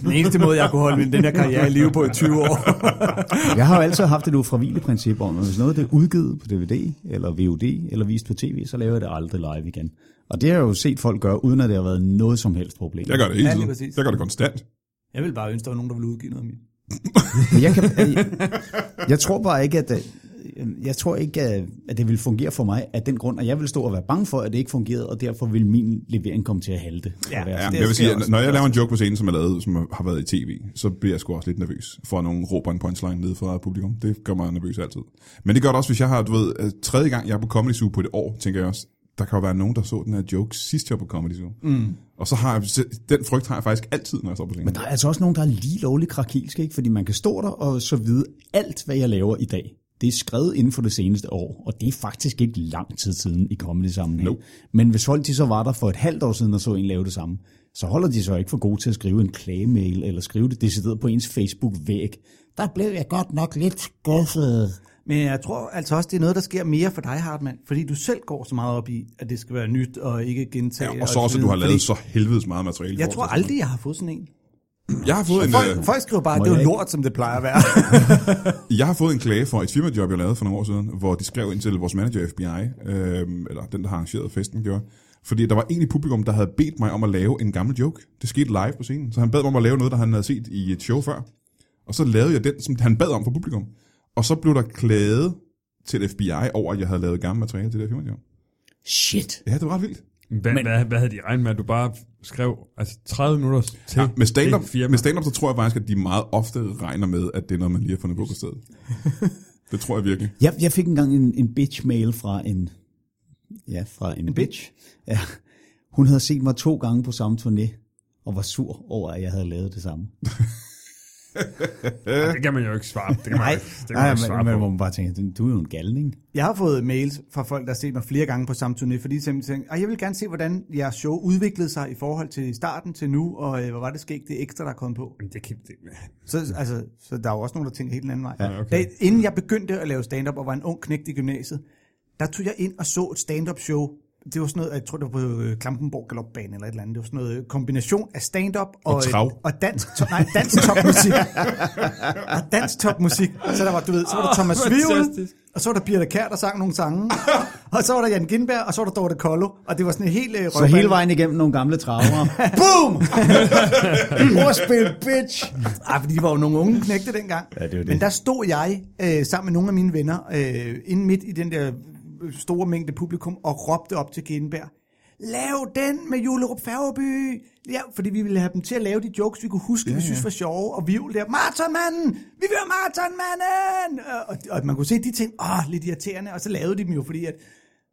B: den eneste måde, jeg kunne holde min, den her karriere i live på i 20 år.
C: Jeg har jo altid haft et ufravigeligt princip om, at hvis noget det er udgivet på DVD, eller VOD, eller vist på tv, så laver jeg det aldrig live igen. Og det har jeg jo set folk gøre, uden at det har været noget som helst problem.
A: Jeg gør det hele
B: Ja, lige
A: tiden.
B: præcis.
A: jeg gør det konstant.
B: jeg vil bare ønske, at der var nogen, der ville udgive noget af mit.
C: Men jeg, kan, jeg, jeg tror bare ikke, at... øh, Jeg tror ikke, at- at det vil fungere for mig af den grund, at jeg vil stå og være bange for, at det ikke fungerede, og derfor vil min levering komme til at halte. og
B: Ja,
C: være
A: Ja,
C: sådan,
A: men
B: Det
A: jeg vil
B: sker
A: sige, at
B: også.
A: når jeg laver en joke på scenen, som er lavet, som har været i tv, så bliver jeg sgu også lidt nervøs for, at nogen råber en punchline ned fra publikum. Det gør mig nervøs altid. Men det gør det også, hvis jeg har, du ved, øh, tredje gang jeg er på Comedy Zoo på et år, tænker jeg også, der kan jo være nogen, der så den her joke sidst jeg var på Comedy Zoo. Mm. Og så har jeg, den frygt har jeg faktisk altid, når jeg står på scenen.
C: Men der er altså også nogen, der er lige lovligt krakilske, ikke? fordi man kan stå der og så vide alt, hvad jeg laver i dag. Det er skrevet inden for det seneste år, og det er faktisk ikke lang tid siden i kommende sammenhæng.
A: Nope.
C: Men hvis folk de så var der for et halvt år siden og så en lave det samme, så holder de så ikke for gode til at skrive en klagemail, eller skrive det decideret på ens Facebook-væg. Der blev jeg godt nok lidt skuffet.
B: Men jeg tror altså også, det er noget, der sker mere for dig, Hartmann, fordi du selv går så meget op i, at det skal være nyt og ikke gentage.
A: Ja, og så også, at
B: videre,
A: du har lavet
B: fordi
A: så helvedes meget materiale.
B: Jeg
A: for
B: tror
A: os.
B: aldrig, jeg har fået sådan en.
A: Jeg har fået en,
B: Folk,
A: øh,
B: folk skriver bare, at
C: Må
B: det er jo
C: jeg ikke?
B: lort, som det plejer at være.
A: jeg har fået en klage for et firmajob, jeg lavede for nogle år siden, hvor de skrev ind til vores manager i FBI, øh, eller den, der har arrangeret festen, gjorde, fordi der var en i publikum, der havde bedt mig om at lave en gammel joke. Det skete live på scenen, så han bad mig om at lave noget, der han havde set i et show før. Og så lavede jeg den, som han bad om for publikum. Og så blev der klaget til FBI over, at jeg havde lavet gammelt materiale til det her firmajob.
C: Shit.
A: Ja, det var ret vildt.
D: Hvad, Men, hvad, hvad havde de regnet med, at du bare skrev altså 30 minutter til
A: Ja, med stand-up,
D: det firma?
A: med stand-up, så tror jeg faktisk, at de meget ofte regner med, at det er noget, man lige har fundet på på stedet. det tror jeg virkelig.
C: Jeg, jeg fik engang en, en bitch-mail fra en... Ja, fra en, en bitch? Ja. Hun havde set mig to gange på samme turné, og var sur over, at jeg havde lavet det samme.
D: Ja, det kan man jo ikke svare på. Det kan man, jo ikke- det kan man jo
C: Nej,
D: ikke svare
C: men, men
D: på.
C: hvor man bare tænker, du- du er jo en galning.
B: Jeg har fået mails fra folk, der har set mig flere gange på samme turné, fordi de simpelthen tænkte, "Ej, jeg vil gerne se, hvordan jeres show udviklede sig i forhold til starten til nu, og øh, hvor var det skægt, det ekstra, der er kommet på.
D: Jamen, Det kan, det,
B: Så, altså, så der er jo også nogen, der tænker helt den anden vej. Ja,
D: okay.
B: da, inden jeg begyndte at lave stand-up og var en ung knægt i gymnasiet, der tog jeg ind og så et stand-up show. Det var sådan noget, jeg tror det var på øh, Klampenborg Galopbane eller et eller andet. Det var sådan noget øh, kombination af stand-up og, øh,
A: trav.
B: og dansk, to, nej, dansk topmusik. og dansk topmusik. Så der var, du ved, så var der Thomas
D: Åh,
B: Vivel,
D: fantastisk.
B: og så var der Birte Kær, der sang nogle sange. og så var der Jan Gindberg, og så var der Dorte Kollo. Og det var sådan en helt øh,
C: Så hele vejen igennem nogle gamle traver.
B: Boom!
C: Ordspil, bitch!
B: Ej, Ah, fordi de var jo nogle unge knægte dengang.
C: Ja, det er jo det.
B: Men der stod jeg øh, sammen med nogle af mine venner øh, inde midt i den der øh, store mængde publikum og råbte op til Genberg. Lav den med Julerup Færgeby! Ja, fordi vi ville have dem til at lave de jokes, vi kunne huske, ja, vi synes var sjove, og vi der, Marathonmanden! Vi vil have Marathonmanden! Øh, Og, og man kunne se de ting, åh, lidt irriterende, og så lavede de dem jo, fordi at,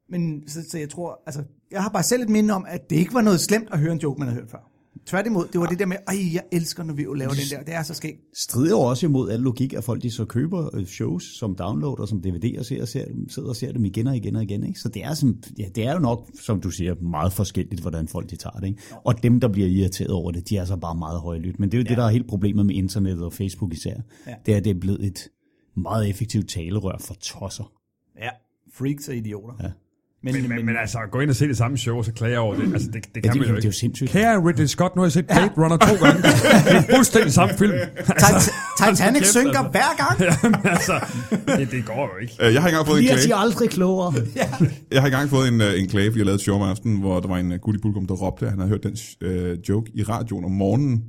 B: men så, så jeg tror, altså, jeg har bare selv et minde om, at det ikke var noget slemt at høre en joke, man havde hørt før. Tværtimod, det var det der med, ej, jeg elsker, når vi laver den der, det er så skægt.
C: Strider jo også imod al logik, at folk de så køber øh, shows som download og som DVD og ser, og ser, dem- sidder og ser dem igen og igen og igen. Ikke? Så det er, som, ja, det er jo nok, som du siger, meget forskelligt, hvordan folk de tager det. Ikke? Og dem, der bliver irriteret over det, de er så bare meget højlydt. Men det er jo ja. det, der er helt problemet med internettet og Facebook især. Ja. Det er, at det er blevet et meget effektivt talerør for tosser.
B: Ja, freaks og idioter. Ja.
D: men, men, men altså, gå ind og se det samme show, og så klage over det. Altså, det, det kan
C: det-
D: man jo
C: det er
D: ikke.
C: jo sindssygt.
D: Kære Ridley Scott, nu har jeg set Blade Runner to gange. Det er fuldstændig samme film. Altså,
B: Titanic
D: kæft,
B: synker
D: altså.
B: hver gang.
D: Jamen, altså, det, det går jo ikke.
A: Øh, Jeg har ikke engang fået en
C: De er
A: klage.
C: de aldrig klogere.
A: Jeg har engang fået en, øh, en klage, fordi jeg lavede et show om aftenen, hvor der var en øh, gut i publikum, der råbte, at han havde hørt den øh, joke i radioen om morgenen,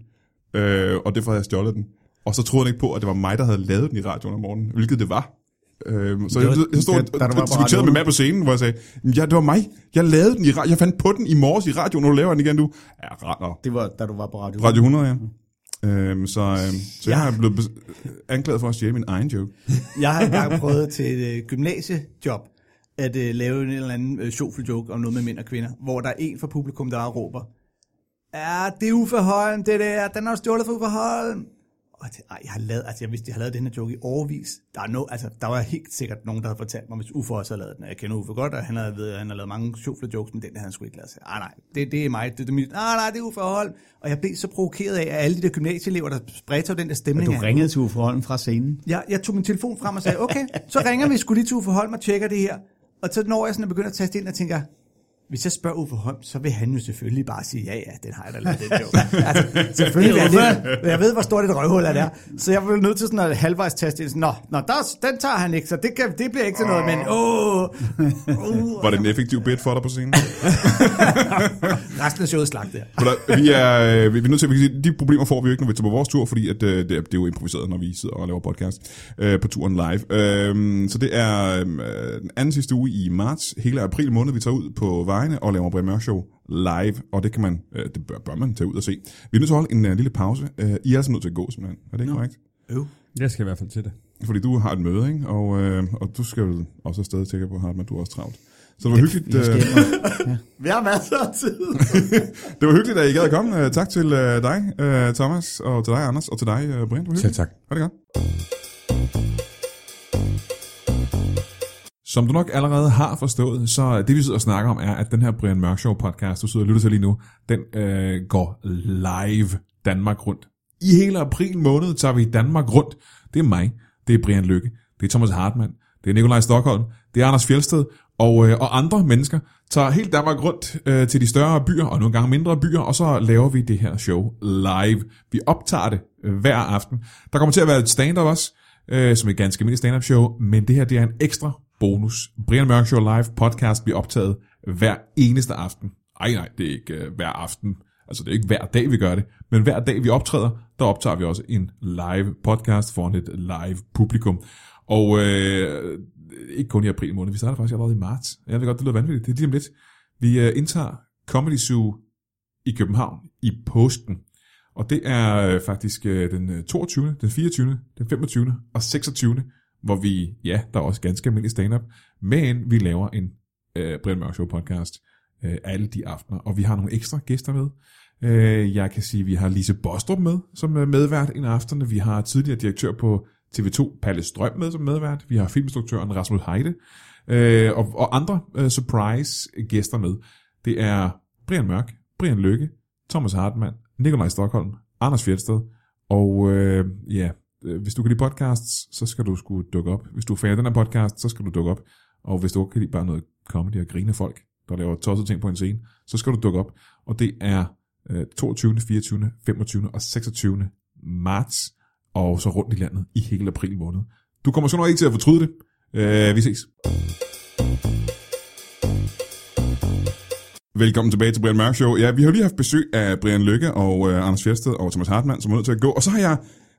A: øh, og derfor havde jeg stjålet den. Og så troede han ikke på, at det var mig, der havde lavet den i radioen om morgenen, hvilket det var. Øhm, så
C: Det
A: det
C: var-
A: var, jeg, jeg stod
C: da-
A: og
C: da du var på
A: og diskuterede med
C: radioen.
A: mig på scenen, hvor jeg sagde, ja, det var mig, jeg lavede den i radioen, jeg fandt på den i morges i radioen, og nu laver jeg den igen, du. Ja, render.
C: Det var, da du var på radio.
A: Radio 100, ja. Øhm, så, øhm, så jeg er blevet bes- anklaget for at stjæle min egen joke.
B: Jeg har engang prøvet til et øh, gymnasiejob at øh, lave en eller anden øh, sjovfuld joke om noget med mænd og kvinder, hvor der er en fra publikum, der råber, ja, det er Uffe Holm, det der, den har du stjålet fra Uffe Holm. Og jeg tænkte, ej, jeg har lavet, altså jeg vidste, jeg havde lavet den her joke i overvis. Der, er no, altså, der var helt sikkert nogen, der havde fortalt mig, hvis Uffe også havde lavet den. Og Jeg kender Uffe godt, og han havde, ved, han havde lavet mange sjovfulde jokes, men den havde han sgu ikke lavet. Så, Ej, nej, det, det er mig. Det, det er mit, ah, nej, nej, det er Uffe Holm. Og jeg blev så provokeret af, at alle de der gymnasieelever, der spredte sig over den der stemning.
C: Du
B: af-
C: ringede til Uffe Holm fra scenen.
B: jeg, jeg tog min telefon frem og sagde, okay, så ringer vi sgu lige til Uffe Holm og tjekker det her. Og så når jeg sådan at begynder at taste ind og tænker, hvis jeg spørger Uffe Holm, så vil han jo selvfølgelig bare sige, ja, ja, den har jeg da lavet, den joke. altså, selvfølgelig vil jeg det. Jeg ved, hvor stort et røvhul er der. Så jeg blev nødt til sådan at halvvejs taste ind. Sådan, Nå, nå der, den tager han ikke, så det, kan, det bliver ikke til noget, men åh, åh,
A: Var det en effektiv bid for dig på scenen?
B: resten af showet slagte jeg.
A: For der, vi, er, øh, vi er nødt til at vi kan sige, de problemer får vi jo ikke, når vi tager på vores tur, fordi at, øh, det, er, det er jo improviseret, når vi sidder og laver podcast øh, på turen live. Øh, så det er øh, den anden sidste uge i marts, hele april måned, vi tager ud på vejene og laver Brian Mørk Show live, og det kan man, øh, det bør, bør man tage ud og se. Vi er nødt til at holde en øh, lille pause. Øh, I er altså nødt til at gå, simpelthen. Er det ikke korrekt?
B: Øv.
D: Jeg skal i hvert fald til det.
A: Fordi du har et møde, ikke? Og, øh, og du skal vel også afsted, tænker jeg på, Hartmann, du er også travlt. Så det var hyggeligt.
C: Vi skal
A: Øh,
C: hjem og-
B: Vi har masser af tid.
A: Det var hyggeligt, at I gad at komme. Øh, Tak til øh, dig, øh, Thomas, og til dig, Anders, og til dig, øh, Brian. Det var hyggeligt.
D: tak.
A: Ha' det godt. Som du nok allerede har forstået, så det vi sidder og snakker om er, at den her Brian Mørk Show podcast, du sidder og lytter til lige nu, den øh, går live Danmark rundt. I hele april måned tager vi Danmark rundt. Det er mig, det er Brian Lykke, det er Thomas Hartmann, det er Nikolaj Stockholm, det er Anders Fjelsted og, øh, og andre mennesker tager helt Danmark rundt øh, til de større byer og nogle gange mindre byer, og så laver vi det her show live. Vi optager det øh, hver aften. Der kommer til at være et stand-up også, øh, som et ganske almindeligt stand-up show, men det her det er en ekstra bonus. Brian Mørk Show Live podcast bliver optaget hver eneste aften. Ej nej, det er ikke øh, hver aften. Altså det er ikke hver dag, vi gør det, men hver dag, vi optræder, der optager vi også en live podcast foran et live publikum. Og øh, ikke kun i april måned, vi starter faktisk allerede i marts. Jeg ved godt, det lyder vanvittigt, det er lige om lidt. Vi øh, indtager Comedy Zoo i København i påsken. Og det er øh, faktisk øh, den øh, 22., den 24., den 25. og 26., hvor vi, ja, der er også ganske almindelig stand-up, men vi laver en øh, Brian Mørk Show podcast øh, alle de aftener, og vi har nogle ekstra gæster med. Øh, jeg kan sige, at vi har Lise Bostrup med som øh, medvært en af aftenerne. Vi har tidligere direktør på TV2, Palle Strøm, med som medvært. Vi har filminstruktøren Rasmus Heide, øh, og, og andre øh, surprise-gæster med. Det er Brian Mørk, Brian Lykke, Thomas Hartmann, Nikolaj Stockholm, Anders Fjeldsted, og øh, ja, øh, hvis du kan lide podcasts, så skal du skulle dukke op. Hvis du er fan af den her podcast, så skal du dukke op. Og hvis du ikke kan lide bare noget comedy og grine af folk, der laver tossede ting på en scene, så skal du dukke op. Og det er øh, 22., 24., 25. og 26. marts, og så rundt i landet i hele april måned. Du kommer så nok ikke til at fortryde det. Øh, vi ses. Velkommen tilbage til Brian Mørk Show. Ja, vi har jo lige haft besøg af Brian Lykke og øh, Anders Fjersted og Thomas Hartmann, som er nødt til at gå. Og så har jeg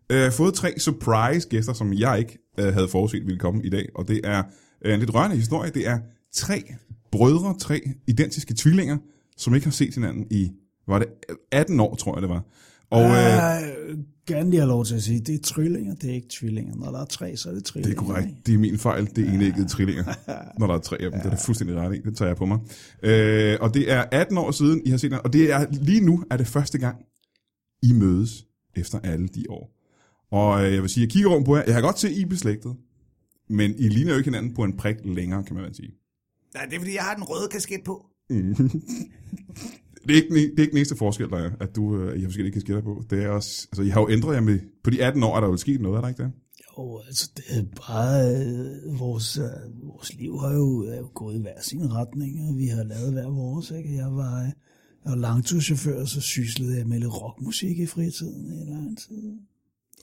A: øh, fået tre surprise gæster, som jeg ikke øh, havde forudset ville komme i dag. Og det er øh, en lidt rørende historie. Det er tre brødre, tre identiske tvillinger, som ikke har set hinanden i, var det 18 år, tror jeg det var. Og øh,
C: Ah.
E: Øh, gerne lige have lov til at sige, det er trillinger, det er ikke tvillinger. Når der er tre, så er det trillinger.
A: Det er korrekt. Det er min fejl. Det er enæggede trillinger, når der er tre af dem. Det er du fuldstændig ret i. Det tager jeg på mig. Øh, og det er 18 år siden, I har set hinanden. Og det er, lige nu er det første gang, I mødes efter alle de år. Og øh, jeg vil sige, jeg kigger rundt på jer. Jeg har godt set, I er beslægtet. Men I ligner jo ikke hinanden på en prik længere, kan man vel sige.
B: Nej, det er fordi, jeg har den røde kasket på.
A: Det er, ikke, den- e-, det er ikke den eneste forskel, der er, at du, øh, I har forskellige kasketter på. Det er også, altså, I har jo ændret jer med, på de 18 år er der jo sket noget, er der ikke det?
E: Jo, altså, det er bare, øh, vores, øh, vores liv har jo, er jo gået i hver sin retning, og vi har lavet hver vores, ikke? Jeg var, øh, jeg var langturschauffør, så syslede jeg med lidt rockmusik i fritiden i lang tid.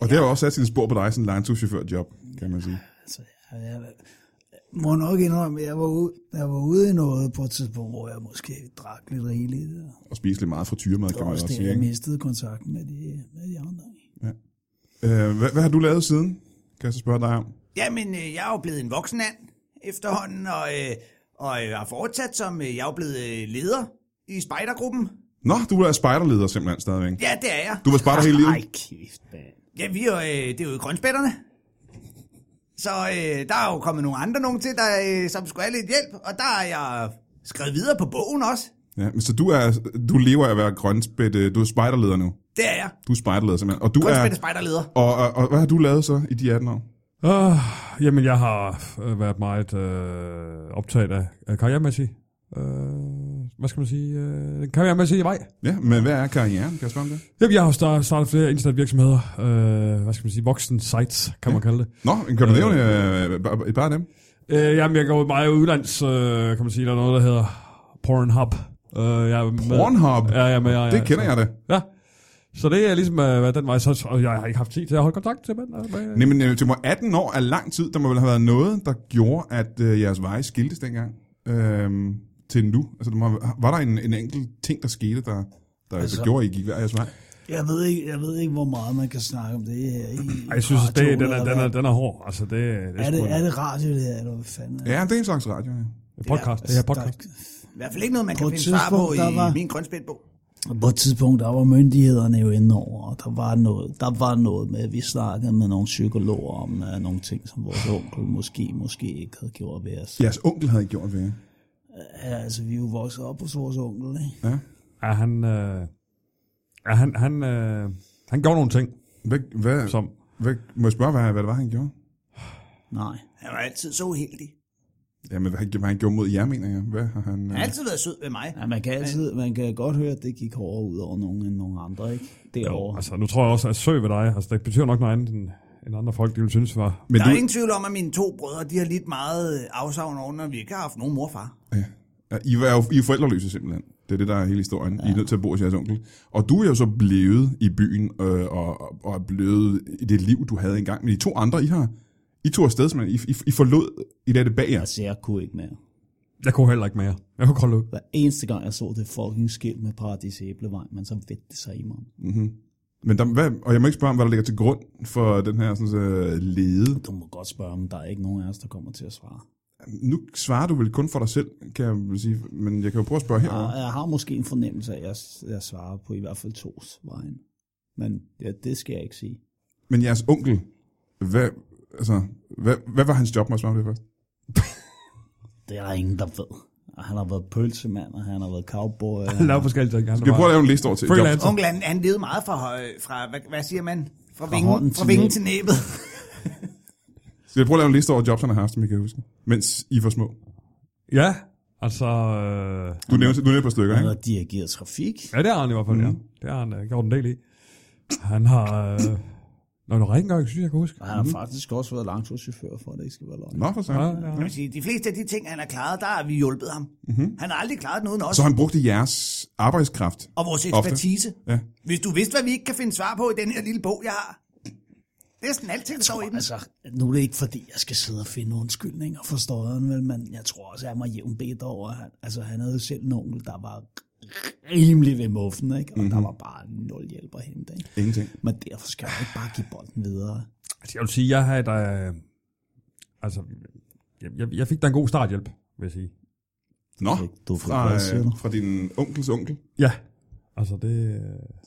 A: Og det har jo også sat sine spor på dig, sådan en langturschauffør-job, kan man sige.
E: Altså, jeg, jeg, jeg må nok indrømme, at jeg var, ude, jeg var ude i noget på et tidspunkt, hvor jeg måske drak lidt rigeligt, og
A: Og spise lidt meget frityremad,
E: det
A: kan
E: var
A: man
E: også
A: også
E: det,
A: sige.
E: jeg
A: ikke?
E: mistede kontakten med de, med de andre. Øh, hvad, hvad har du lavet siden, kan jeg så spørge dig om?
B: Jamen, øh, jeg er jo blevet en voksen mand efterhånden, og, øh, og øh, har fortsat som, øh, jeg er jo blevet øh, leder i spejdergruppen.
E: Nå, du er spejderleder simpelthen stadigvæk.
B: Ja, det er jeg.
E: Du var spejder hele livet.
F: Ej, kæft, mand.
B: Ja, vi er, jo, øh, det er jo i grønspætterne. Så øh, der er jo kommet nogle andre nogen til, der, øh, som skulle have lidt hjælp, og der er jeg skrevet videre på bogen også.
E: Ja, men så du, er, du lever af at være grønspætte, du er spejderleder nu.
B: Det er jeg.
E: Du er spejderleder simpelthen. Og du er,
B: Grønspætte spejderleder.
E: og, og, og, hvad har du lavet så i de 18 år?
D: Uh, jamen, jeg har øh, været meget øh, optaget af, af karrieremæssig. Øh, hvad skal man sige? Øh, karrieremæssig vej.
E: Ja, men hvad er karrieren? Kan jeg spørge om det?
D: Jamen, jeg har startet, startet flere internetvirksomheder. Øh, hvad skal man sige? Voksen sites, kan man kalde det.
E: Nå, men kan du nævne øh, bare- et par af dem?
D: Øh, jamen, jeg går meget udlands, øh, kan man sige. Der er noget, der hedder Pornhub. Øh, jeg er med,
E: Pornhub?
D: Ja, ja, men jeg,
E: Det kender jeg da.
D: Ja. Så det er ligesom øh, været den vej, så, og jeg har ikke haft tid til at holde kontakt til mænd. øh, Med,
E: Nej, men øh, det var 18 år er lang tid. Der må vel have været noget, der gjorde, at øh, jeres veje skiltes dengang øh, til nu. Altså, der må, var der en, en enkelt ting, der skete, der, der, altså, der gjorde, at I gik hver jeres vej?
C: Jeg ved, ikke, jeg ved ikke, hvor meget man kan snakke om det her. I,
D: Ej, jeg synes,
C: i
D: at det, den,
C: radioen,
D: er,
C: eller
D: den, er,
C: hvad.
D: den er hård. Altså, det, det er,
C: Ah, Er
D: sgu
C: det,
D: en
C: er det radio, det her, eller hvad fanden er det?
E: Ja, det er en slags radio, ja.
D: podcast. Det er podcast.
B: I hvert fald ikke noget, man kan
C: På et
B: finde svar på
C: tidspunkt,
B: i
C: der var-
B: min grønspætbog.
C: Og på et tidspunkt, der var myndighederne jo inde over, og der var noget, der var noget med, at vi snakkede med nogle psykologer om uh, nogle ting, som vores onkel måske, måske ikke havde gjort ved os.
E: Jeres onkel havde gjort ved jer.
C: Ja, altså, vi er jo vokset op hos vores onkel, ikke?
D: Er han, øh, er han, han, øh, han gjorde nogle ting,
E: Hvad, hvad,
D: som...
E: hvad, må jeg spørge, hvad, hvad det var, han gjorde?
C: Nej.
B: Han var altid så uheldig.
E: Jamen, hvad, han- hvad han gjorde mod jer, mener jeg. Hvad har han...
B: Han
E: Øh,
B: har altid været sød ved mig.
C: Ja, man, kan altid, man kan godt høre, at det gik hårdere ud over nogen end nogen andre, ikke?
D: Jo,
C: Derovre.
D: altså, nu tror jeg også, at søg ved dig, altså, det betyder nok noget andet, end, end andre folk, de vil synes var...
E: men
B: Der
E: du,
B: er ingen tvivl om, at mine to brødre, de har lidt meget øh, afsavn over, når vi ikke har haft nogen morfar.
E: I er jo I er forældreløse simpelthen. Det er det, der er hele historien. Ja. I er nødt til at bo hos jeres onkel. Og du er jo så blevet i byen, øh, og, og, og er blevet i det liv, du havde engang. Men de to andre, I har... I tog afsted, simpelthen. I, I, I forlod I lader det bag jer.
C: Altså, jeg kunne ikke mere.
D: Jeg kunne heller ikke mere. Jeg kunne kolde ud.
C: Hver eneste gang, jeg så det fucking skilt med Paradis Æblevej, men så vendte det sig i mig.
E: Men der, hvad, og jeg må ikke spørge om, hvad der ligger til grund for den her sådan, så, lede.
C: Du må godt spørge, om der er ikke nogen af os, der kommer til at svare.
E: Nu svarer du vel kun for dig selv, kan jeg vel sige. Men jeg kan jo prøve at spørge
C: Ja.
E: herovre.
C: Jeg har måske en fornemmelse af, at jeg, jeg svarer på i hvert fald tos vejen. Men ja, det skal jeg ikke sige.
E: Men jeres onkel, hvad, altså, hvad, hvad var hans job, må jeg spørge om det først?
C: Det er der ingen, der ved. Og han har været pølsemand, og han har været cowboy. og
D: Han
C: han-
D: lavede forskellige ting. Han
E: Skal vi prøve at lave en liste over til?
D: Freelancer.
E: jobs?
B: Onkel, han, han levede meget fra, høj- fra hvad, hvad siger man? Fra, fra
C: hånden
B: vingen,
C: til
B: fra vingen
C: næb.
B: til næbet.
E: Skal vi prøve at lave en liste over jobs, han har haft, som I kan huske? Mens I var små.
D: Ja, altså... Øh,
E: Du nævnte, du nævnte et par stykker,
C: Han
E: ikke?
C: har dirigeret trafik.
D: ja, det har han i hvert fald, mm. ja. Det har han øh, gjort en del i. Han har... Øh, Nå, noget rengøring, synes jeg, jeg kan huske.
C: Og han har faktisk også været langturschauffør, for at det ikke skal være løgn.
E: Nå, for
D: Ja,
E: sådan.
D: ja.
B: Jeg vil sige, de fleste af de ting, han har klaret, der har vi hjulpet ham. Mm-hmm. Han har aldrig klaret den uden os
E: Så han brugte jeres arbejdskraft.
B: og vores ekspertise.
E: Ja.
B: Hvis du vidste, hvad vi ikke kan finde svar på i den her lille bog, jeg har. Det er sådan alting, der står i den.
C: Altså, nu er det ikke fordi, jeg skal sidde og finde undskyldninger for støjeren, vel, men jeg tror også, at han var jævn bedt over. at Han, altså, han havde jo selv en onkel, der var rimelig ved muffen, ikke? Og mm-hmm. der var bare nul hjælp at hente, ikke?
E: Ingenting.
C: Men derfor skal jeg ikke bare give bolden videre.
D: Altså, jeg vil sige, jeg havde da... Øh, altså, jeg, jeg, jeg fik da en god starthjælp, vil jeg sige.
E: Nå,
C: Du fik
E: fra, øh,
C: hvad, siger du?
E: fra din onkels onkel,
D: Ja. Altså, det... Øh,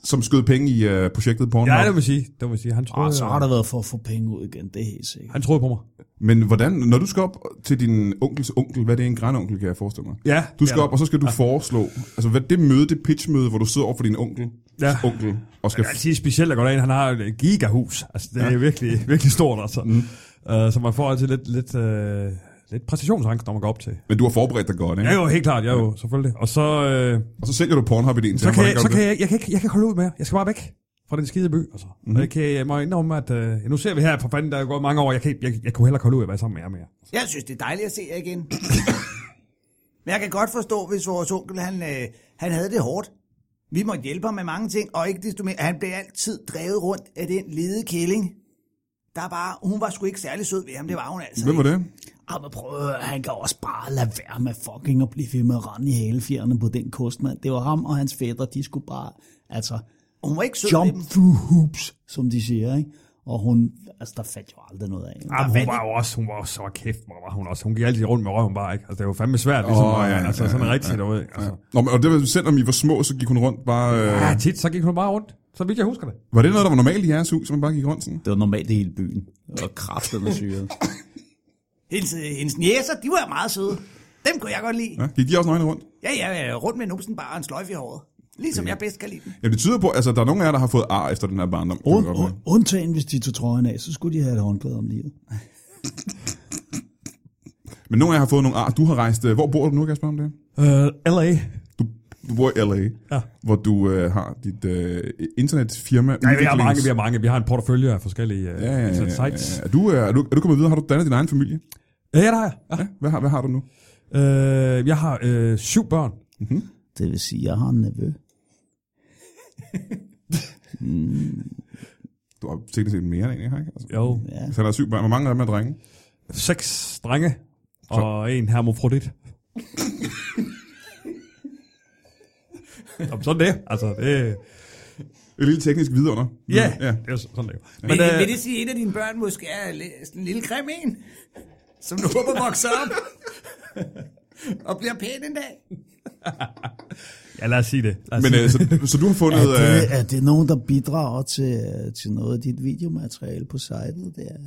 E: som skød penge i uh, projektet Pornhub.
D: ja, det må jeg sige. Det må jeg sige. Han troede,
C: Og så har
D: øh,
C: der
G: Øhm.
C: været for at få penge ud igen, det er helt sikkert.
D: han troede på mig.
E: Men hvordan, når du skal op til din onkels onkel, hvad er det en grænonkel, kan jeg forestille mig?
D: Ja.
E: Du skal op, og så skal du foreslå, altså hvad det møde, det pitchmøde, hvor du sidder over for din onkel,
D: Ja. altså-
E: onkel, og skal
D: Jeg vil sige specielt at gå derind. Han har et gigahus. Altså, det er ja. virkelig, virkelig stort, altså. Mm. Uh, så man får altid lidt, lidt, uh, lidt præstationsangst, når man går op til.
E: men du har forberedt dig godt, ikke?
D: Ja, jo, helt klart. Ja, jo, selvfølgelig. Og så, øh,
E: Og så sælger du Pornhub-ideen til
D: så,
E: ham,
D: kan,
E: hvordan
D: jeg,
E: gør
D: så
E: du
D: kan
E: det?
D: jeg, jeg, kan ikke, jeg kan ikke holde ud mere. Jeg skal bare væk fra den skide by. Altså. Mm-hmm. Og jeg, kan, jeg må indrømme, at øh, nu ser vi her, for fanden, der er gået mange år. Jeg, kan, ikke- jeg, jeg kunne heller ikke holde ud at være sammen med jer mere.
B: Jeg synes, det er dejligt at se jer igen. Men jeg kan godt forstå, hvis vores onkel, han, øh, han havde det hårdt. Vi måtte hjælpe ham med mange ting, og ikke desto mere, han blev altid drevet rundt af den lede kælling. Der bare, hun var sgu ikke særlig sød ved ham, det var hun altså.
E: Hvem var det?
C: Ah, men prøv at høre, han kan også bare lade være med fucking at blive ved med at rende i halefjerne på den kost, mand. Det var ham og hans fætter, de skulle bare, altså,
B: Hun var ikke sød ved
C: jump
B: dem.
C: through hoops, som de siger, ikke?
G: og hun, altså der fandt jo aldrig noget af. hende.
D: Ah, hun var jo også, hun var jo så kæft, hvor var hun også. Hun gik altid rundt med røven bare, ikke? Altså, det var fandme svært, ligesom,
E: Åh,
D: oh,
E: ja,
D: ja, altså,
E: ja,
D: sådan
E: ja,
D: rigtigt, ja, du ved. Altså.
E: Nå, men, og det var, selvom I var små, så gik hun rundt bare... Øh,
D: Ja, tit, så gik hun bare rundt. Så vidt jeg husker det.
E: var det noget, der var normalt i jeres hus, som man bare gik rundt sådan?
G: Det var normalt i hele byen, og kraftet med syret.
B: Hendes, hendes næser, de var meget søde. Dem kunne jeg godt lide.
E: Ja? Gik de også nøgne rundt?
B: Ja, ja, ja, rundt med numsen bare og en sløjfe i håret. Ligesom jeg bedst kan lide den.
E: Ja, det tyder på, altså der er nogen af jer, der har fået ar efter den her barndom. kan man
C: Und,
E: godt
C: und,
E: mærke.
C: undtagen hvis de tog trøjen af, så skulle de have et håndklæde om livet.
E: Men nogle af jer har fået nogle ar. Du har rejst... øh, Hvor bor du nu, kan jeg spørge om det?
D: Uh, L.A.
E: Du, du bor i L.A.,
D: Ja.
E: hvor du øh, har dit øh, internetfirma.
D: Ja, vi har mange, vi har mange. Vi har en portefølje af forskellige uh,
E: Ja, ja, ja, ja,
D: sites. Øh,
E: ja. Er, du, øh, er, du, er du kommet videre? Har du dannet din egen familie?
D: Ja, ja, der har jeg. Ja.
E: Ja. Hvad, har, hvad har du nu?
D: Øh, jeg har øh, syv børn.
G: Det vil sige, jeg har en nevø.
E: Du har sikkert set mere end en, ikke? Altså,
D: Jo,
G: Ja.
E: Så der er syv børn. Hvor mange af dem er drenge?
D: seks drenge og en hermofrodit. Jamen, sådan det. Altså, det,
E: Et lille teknisk vidunder.
D: ja,
E: ja.
D: det er jo sådan det er jo.
B: Men, vil,
D: øh,
B: vil det sige, at en af dine børn måske er lidt- sådan en lille grim en? Som du håber vokser op? og bliver pæn en dag?
D: ja, lad os sige det. Lad os
E: Men
D: sige
E: øh, så, så du har fundet...
C: Er
E: øh,
C: det, er det nogen, der bidrager til, øh, til noget af dit videomateriale på sitet? Det er,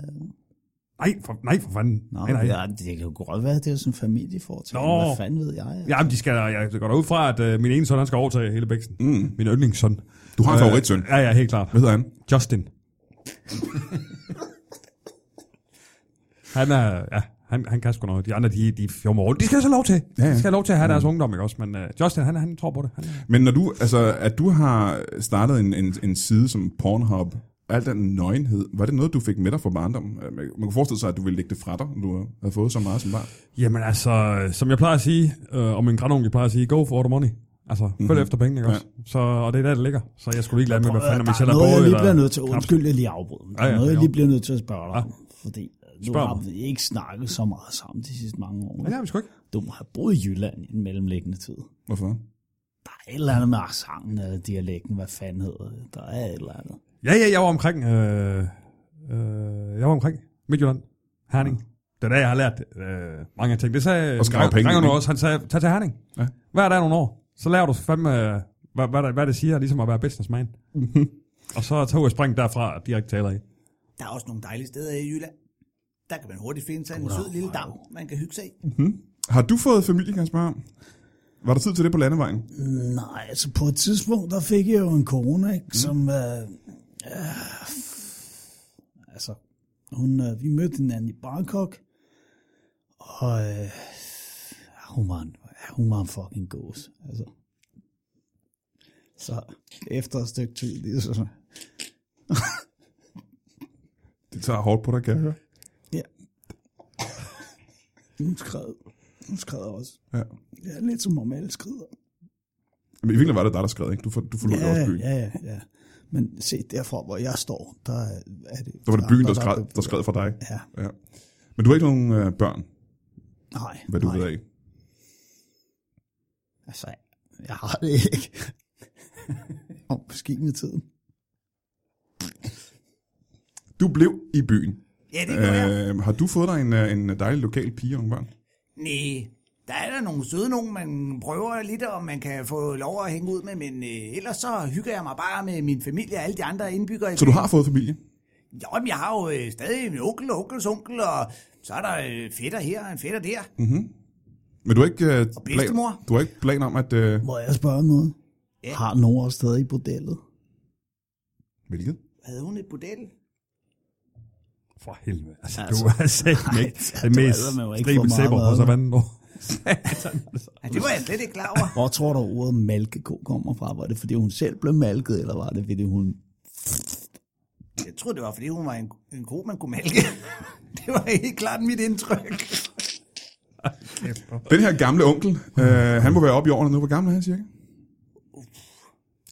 D: Nej, for, nej, for fanden.
C: Nå,
D: nej, nej.
C: Ja, det kan jo godt være, det er sådan en familieforetagende.
D: Nå.
C: Hvad fanden ved jeg?
D: Ja, men de skal, jeg går da ud fra, at øh, min ene søn, han skal overtage hele bæksen. Mm. Min yndlingssøn. Øh,
E: Du har en favoritsøn.
D: Ja, ja, helt klart.
E: Hvad hedder han?
D: Justin. han er, ja, han, han kan sgu noget. De andre, de, de fjommer rundt. De skal så lov til. Ja, Mm.
E: ja.
D: ja. De skal have lov til at have deres ungdom, ikke også? Men uh, Justin, han, han tror på det. Han,
E: Men når du, altså, at du har startet en, en, en side som Pornhub, al den nøgenhed, var det noget, du fik med dig fra barndommen? Øh, Man man kunne forestille sig, at du ville lægge det fra dig, når du havde fået så meget som barn.
D: jamen altså, som jeg plejer at sige, øh, og min grandonkel plejer at sige, go for the money. Altså, mm-hmm. følg efter pengene, ikke også? Ja. Så, og det er der, det ligger. Så jeg skulle ikke lade med, hvad fanden, om
C: der
D: I
C: er
D: sælger
C: noget, jeg
D: både
C: lige
D: eller...
C: bliver nødt til, undskyld, jeg lige afbryder, men der
D: Ja,
C: er
D: ja,
C: noget, jeg
D: jo.
C: lige bliver nødt til at spørge dig,
D: Ja.
C: om, fordi du
D: Spørg
C: har
D: mig.
C: ikke snakket så meget sammen de sidste mange år.
D: Ja, men sgu ikke.
C: Du må have boet i Jylland i den mellemliggende tid.
E: Hvorfor?
C: Der er et eller andet med accenten eller dialekten, hvad fanden hedder det. Der er et eller andet.
D: Ja, ja, jeg var omkring... Øh, øh, jeg var omkring Midtjylland. Herning. Det er der, jeg har lært øh, mange af ting. Det sagde
E: Og skrave
D: Dreng-
E: penge,
D: drengene
E: ikke?
D: også. Han sagde, tag til Herning.
E: Ja.
D: Ja. Hver dag nogle år. Så lærer du fandme, øh, hvad, hvad, det- hvad det siger, ligesom at være businessman. og så tog jeg spring derfra og direkte taler i.
B: Der er også nogle dejlige steder i Jylland. Der kan man hurtigt finde sig en sød lille dam, man kan hygge sig i.
E: Har du fået familie, kan jeg spørge om? Var der tid til det på landevejen?
C: Nej, altså på et tidspunkt, der fik jeg jo en kone,
E: Mhm.
C: ikke, som... Øh, øh, altså, hun, øh, vi mødte hinanden i Bangkok, og øh, hun, var en, hun var en fucking gås. Altså. Så efter et stykke tid, det er sådan,
E: Det tager hårdt på dig, kan jeg høre.
C: ja. Hun skred. Hun skred også.
E: Ja.
C: Ja, lidt som om alle skrider.
E: Men i virkeligheden var det dig, der skred, ikke? Du, for, du forlod ja, også byen. Ja.
C: ja, ja, ja. Men se, derfra, hvor jeg står, der er er det...
E: Der var det byen, der,
C: er
E: skred,
C: det-
E: der skred for dig.
C: Ja,
E: Ja. Men du har ikke nogen øh, børn,
C: nej.
E: hvad du
C: nej.
E: ved af.
C: Altså, jeg har det ikke. Og måske med tiden.
E: Du blev i byen.
B: Ja, det gør jeg.
E: Øh, har du fået dig en, øh, en dejlig lokal pige og nogle børn?
B: Nej, der er der nogle søde nogen, man prøver lidt, og man kan få lov at hænge ud med, men øh, ellers så hygger jeg mig bare med min familie og alle de andre indbyggere. i
E: Så du har fået familie?
B: Jo, men jeg har jo øh, stadig min onkel og onkels onkel, og så er der øh, fætter her og en fætter der.
E: Men du har ikke, øh, plan,
B: bedstemor.
E: du har ikke plan om, at... Øh,
C: Må jeg spørge om noget?
B: Ja.
C: Ja. Har Nora stadig bordellet?
E: hvilket?
B: Havde hun et bordel?
D: For helvede. Altså,
C: Altså.
D: du er sagt ikke
C: altså,
D: den
C: du
D: mest
C: æder mig jo ikke
D: stribe
C: for meget
D: sæber på
C: mad,
D: savannen, hvor...
B: Ja, det var jeg slet ikke klar over.
C: Hvor tror du, ordet malkeko kommer fra? Var det, fordi hun selv blev malket, eller var det, fordi hun...
B: Jeg troede, det var, fordi hun var en, en ko, man kunne malke. Det var helt klart mit indtryk.
E: Den her gamle onkel, øh, han må være oppe i årene nu. Hvor gammel er han cirka?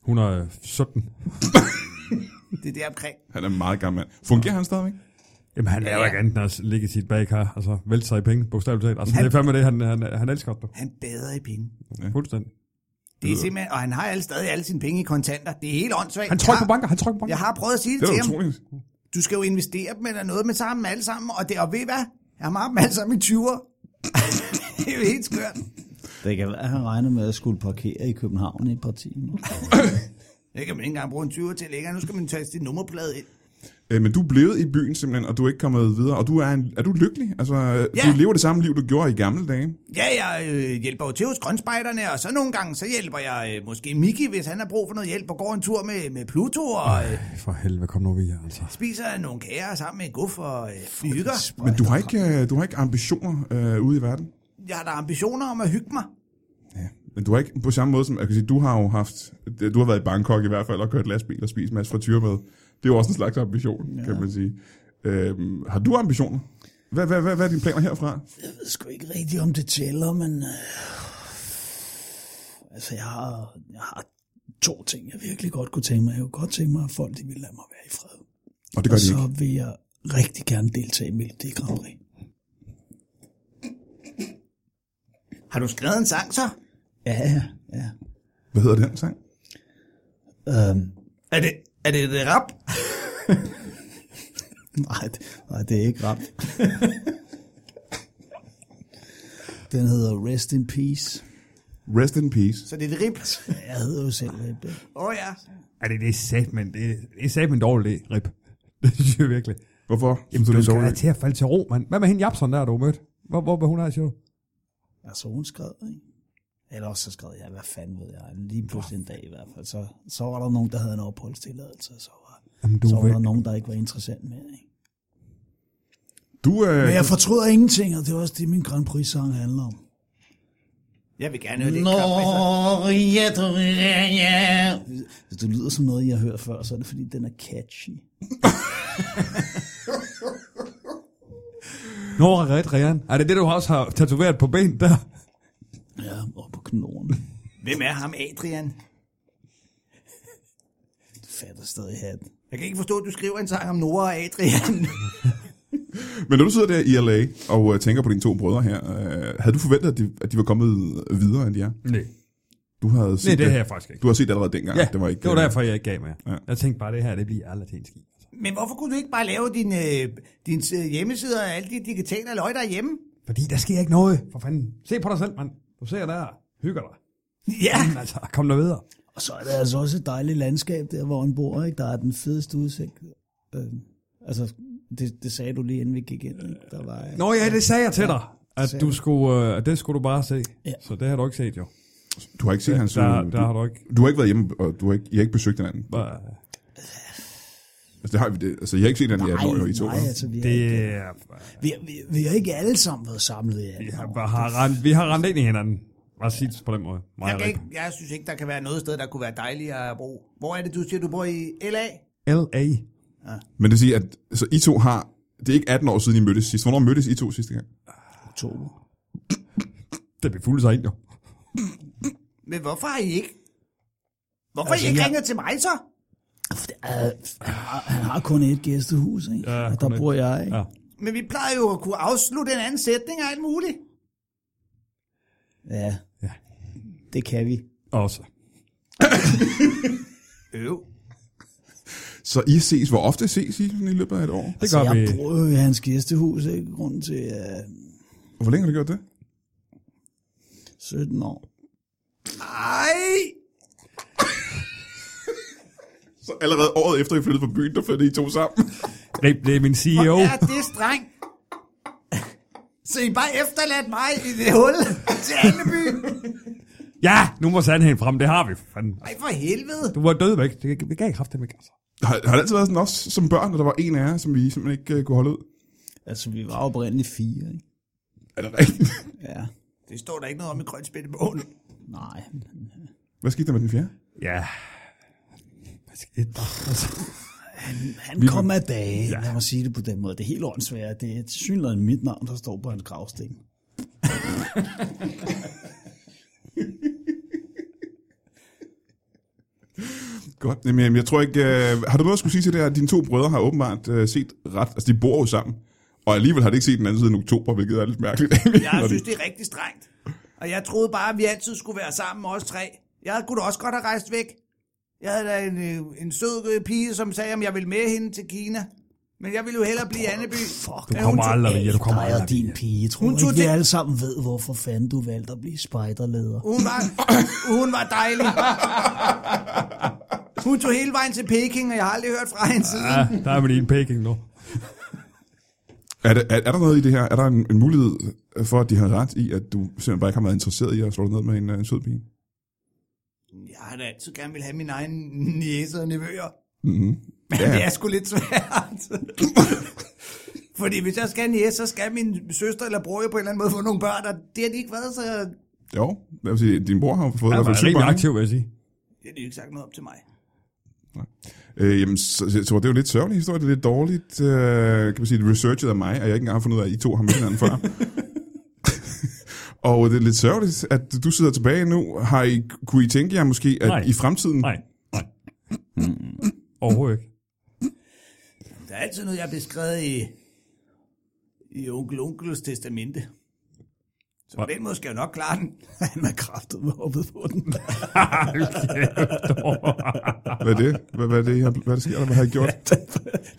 D: 117.
B: Det er der omkring.
E: Han er en meget gammel mand. Fungerer han stadigvæk?
D: Jamen, han er jo
B: Ja.
D: ikke andet end at ligge i sit bagkar, altså vælte sig i penge, bogstaveligt talt. Altså, det er fandme det, han, han, han elsker det.
B: Han bader i penge.
D: Fuldstændig.
B: Det er simpelthen, og han har alle, stadig alle sine penge i kontanter. Det er helt åndssvagt.
D: Han trykker
B: Jeg
D: på banker, han
B: har-
D: trykker på banker.
B: Jeg har prøvet at sige det,
E: Det er da
B: til ham.
E: utroligt.
B: du skal jo investere dem eller noget med sammen, alle sammen, og det, og ved I hvad? Jeg har dem alle sammen i 20'er. det er jo helt skørt.
H: Det kan være, at han regner med at skulle parkere i København i et par timer.
B: Det kan man ikke engang bruge en 20'er til længere. Nu skal man tage sin nummerplade ind.
E: Øh, men du er blevet i byen simpelthen, og du er ikke kommet videre. Og du er, en, er du lykkelig? Altså, ja.
B: Ja.
E: du lever det samme liv, du gjorde i gamle dage.
B: Ja, jeg øh, hjælper jo til hos grønspejderne, og så nogle gange, så hjælper jeg øh, måske Miki, hvis han har brug for noget hjælp, og går en tur med, med Pluto, og øh,
D: For helvede, kom nu vi her, altså.
B: spiser nogle kager sammen med Guf og øh, hygger.
E: Men du har ikke, øh, du har ikke ambitioner øh, ude i verden.
B: Jeg har da ambitioner om at hygge mig.
E: Ja. Men du har ikke på samme måde som, jeg kan sige, du har jo haft, øh, du har været i Bangkok i hvert fald, og kørt lastbil og spist en masse frityr med. Det er jo også en slags ambition, ja. kan man sige. Øhm, har du ambitioner? Hvad, hvad, hvad, hvad er dine planer herfra?
C: Jeg ved sgu ikke rigtigt, om det tæller, men... Øh, altså, jeg har, jeg har to ting, jeg virkelig godt kunne tænke mig. Jeg kunne godt tænke mig, at folk de ville lade mig være i fred.
E: Og det gør
C: Og
E: de
C: så
E: ikke.
C: vil jeg rigtig gerne deltage i Melodi Grand Prix.
B: Har du skrevet en sang så?
C: Ja, ja, ja.
E: Hvad hedder den sang?
C: Øhm,
B: Er det, er det, det rap?
C: nej, det- nej, det er ikke ramt. Den hedder Rest in Peace.
E: Rest in Peace.
B: Så det er det rip?
C: Jeg hedder jo selv øh, Ebbe.
B: Åh oh, ja.
D: Er det, det er sat, men det, er- det er sat en dårlig idé, Rip. Det synes jeg virkelig.
E: Hvorfor? Jamen,
D: Du skal da til at falde til ro, mand. Hvad med hende Japson der, du har mødt? Hvor, hvor var hun her, siger du?
C: Altså, hun skrev, ikke? Eller også så skrev jeg, hvad fanden ved jeg, lige pludselig en dag i hvert fald. Så, så var der nogen, der havde en opholdstilladelse, og så var,
D: Jamen, du
C: så var
D: vil-
C: der nogen, der ikke var interessant mere. Ikke?
E: Du, øh,
C: Men jeg fortryder ingenting, og det er også det, min Grand Prix-sang handler om.
B: Jeg vil gerne høre det.
C: Norge, du- ja, ja. Hvis det lyder som noget, jeg har hørt før, så er det fordi, den er catchy.
D: Nora Redrian. Er det det, du også har tatoveret på ben der?
C: Ja, og på knoren.
B: Hvem er ham, Adrian?
C: Du fatter stadig hatten.
B: Jeg kan ikke forstå, at du skriver en sang om Nora og Adrian.
E: men når du sidder der i LA og øh, tænker på dine to brødre her, øh, havde du forventet, at de, at de var kommet videre, end de er?
D: Nej.
E: Du havde set
D: Nej, det har jeg faktisk ikke.
E: Du har set det allerede dengang.
D: Ja,
E: det var, ikke,
D: det var
E: øh,
D: derfor, jeg ikke gav mig.
E: Ja.
D: Ja. Jeg tænkte bare, det her, det bliver aldrig til en altså. ski.
B: Men hvorfor kunne du ikke bare lave din, øh, din øh, hjemmeside og alle de digitale løg derhjemme?
D: Fordi der sker ikke noget, for fanden. Se på dig selv, mand. Du ser der, hygger dig.
B: Ja,
D: Jamen, altså, kom der videre.
C: Og så er det altså også et dejligt landskab der, hvor han bor. Ikke? Der er den fedeste udsigt. Øh, altså, det, det sagde du lige inden vi gik ind. Ikke? Der var,
D: Nå ja, det sagde jeg til dig, at du skulle, øh, at det skulle du bare se.
C: Ja.
D: Så det har du ikke set, jo.
E: Du har ikke set hans...
D: Der,
E: øh,
D: der har du ikke...
E: du, du har ikke været hjemme, og du har ikke, I har ikke besøgt hinanden.
D: bare-
E: Altså, det har, vi- det, altså, jeg har ikke set hinanden i 18 år, jo, I to.
C: nej,
E: hva'?
C: altså, vi, det...
D: Det
C: ikke,
D: er...
C: vi, vi, vi har ikke alle sammen været samlet i alt.
D: Vi har, bare- har rendt, vi har rendt ind i hinanden. Bare sige det på den måde. Mig
B: jeg,
D: og
B: kan
D: Rikke.
B: ikke, jeg synes ikke, der kan være noget sted, der kunne være dejligere at bo. Hvor er det, du siger, du bor i LA?
D: L.A.
E: Men det vil sige, at altså, I to har... Det er ikke 18 år siden, I mødtes sidst. Hvornår mødtes I to sidste gang?
C: Oktober.
D: Det bliver fuldt sig ind, jo.
B: Men hvorfor har I ikke? Hvorfor altså,
C: Altså,
B: I ikke
C: jeg-
B: ringet til mig så?
C: Øh, han, har, han har kun et gæstehus, ikke?
D: Ja,
C: og
D: kun
C: der
D: ét.
C: bor jeg. Ikke?
D: Ja.
C: Ja.
B: Men vi plejer jo at kunne afslutte en anden sætning og alt muligt.
C: Ja.
D: Ja.
C: det kan vi.
D: Også.
B: Øv.
E: Så I ses... Hvor ofte ses I sådan, i løbet af et år?
D: Det
C: Så
D: gør vi.
C: Altså, jeg bor jo i hans gæstehus, ikke? grunden til øh,
E: Hvor længe har du gjort det?
C: 17 år.
B: Ej!
E: Så allerede året efter, I flyttede fra byen, der flyttede I to sammen.
D: Rip, det er min E CEO.
B: Hvor er det streng? Så I bare efterladt mig i det hul til Alleby?
D: Ja, nu må sandheden frem. Det har vi, for fanden.
B: Ej, for helvede.
D: Du var død væk. Det, det gav ikke kraft, ikke. Altså.
E: har, har det altid været sådan også som børn, at der var en af jer, som I simpelthen ikke uh, kunne holde ud?
C: Altså, vi var oprindeligt fire, ikke?
E: Er det rigtigt?
C: Ja,
B: Det står der ikke noget om i grønspættebogen.
C: nej.
E: Hvad skete der med den fjerde?
D: Ja. Hvad skete der? Altså.
C: Han kom af dage, ja. lad mig sige det på den måde. Det er helt åndssvært. Det er til synligheden mit navn, der står på hans gravsten.
E: Godt. Jamen, jamen, jeg tror ikke... Uh, har du noget at skulle sige til det her? Dine to brødre har åbenbart uh, set ret... Altså, de bor jo sammen. Og alligevel har de ikke set den anden siden oktober, hvilket er lidt mærkeligt.
B: Jeg synes, det er rigtig strengt. Og jeg troede bare, at vi altid skulle være sammen, os tre. Jeg kunne da også godt have rejst væk. Jeg havde da en, øh, en sød øh, pige, som sagde, om jeg ville med hende til Kina. Men jeg ville jo hellere blive i Anneby. Fuck,
D: Du kommer aldrig videre, du kommer
C: Dig
D: aldrig
C: og din
D: videre.
C: pige, tror
B: Hun
C: hun
B: tog
C: ikke, vi
B: det-
C: alle sammen ved, hvorfor fanden du valgte at blive spejderleder.
B: Hun var, hun var dejlig. Hun tog hele vejen til Peking, og jeg har aldrig hørt fra hende siden.
D: Ja, der er vi lige en peking nu.
E: Er, det, er, er der noget i det her? Er der en, en mulighed for, at de har ret i, at du simpelthen bare ikke har været interesseret i at slå dig ned med en, øh, en sød pige?
B: Jeg har da altid gerne vil have mine egne niæser og nevøer.
E: Mm-hmm.
B: Men
E: Ja.
B: ja. det er sgu lidt svært. Fordi hvis jeg skal have en niæs, så skal min søster eller bror jo på en eller anden måde få nogle børn, og det har de ikke været, så det
E: Jo, jeg vil sige, din bror har fået i
D: Han
E: hvert
D: var
E: fald syv
D: rimelig
E: børn, ikke?
D: aktiv, vil jeg sige.
B: har de jo ikke sagt noget op til mig.
E: Øh, jamen, så, så, så, det er jo lidt sørgelig historie, det er lidt dårligt, øh, kan man sige, researchet af mig, at jeg ikke engang har fundet ud af, at I to har mødt hinanden før. og det er lidt sørgeligt, at du sidder tilbage nu. Har I, kunne I tænke jer måske, at
D: Nej.
E: i fremtiden...
D: Nej, nej. Overhovedet ikke.
B: Der er altid noget, jeg har beskrevet i, i onkel Onkels testamente. Så på den måde skal jeg jo nok klare den.
C: Han er kraftet med hoppet på den.
E: Hvad er det? Hvad, hvad er det, I har, hvad er det sker, der? Hvad har I gjort?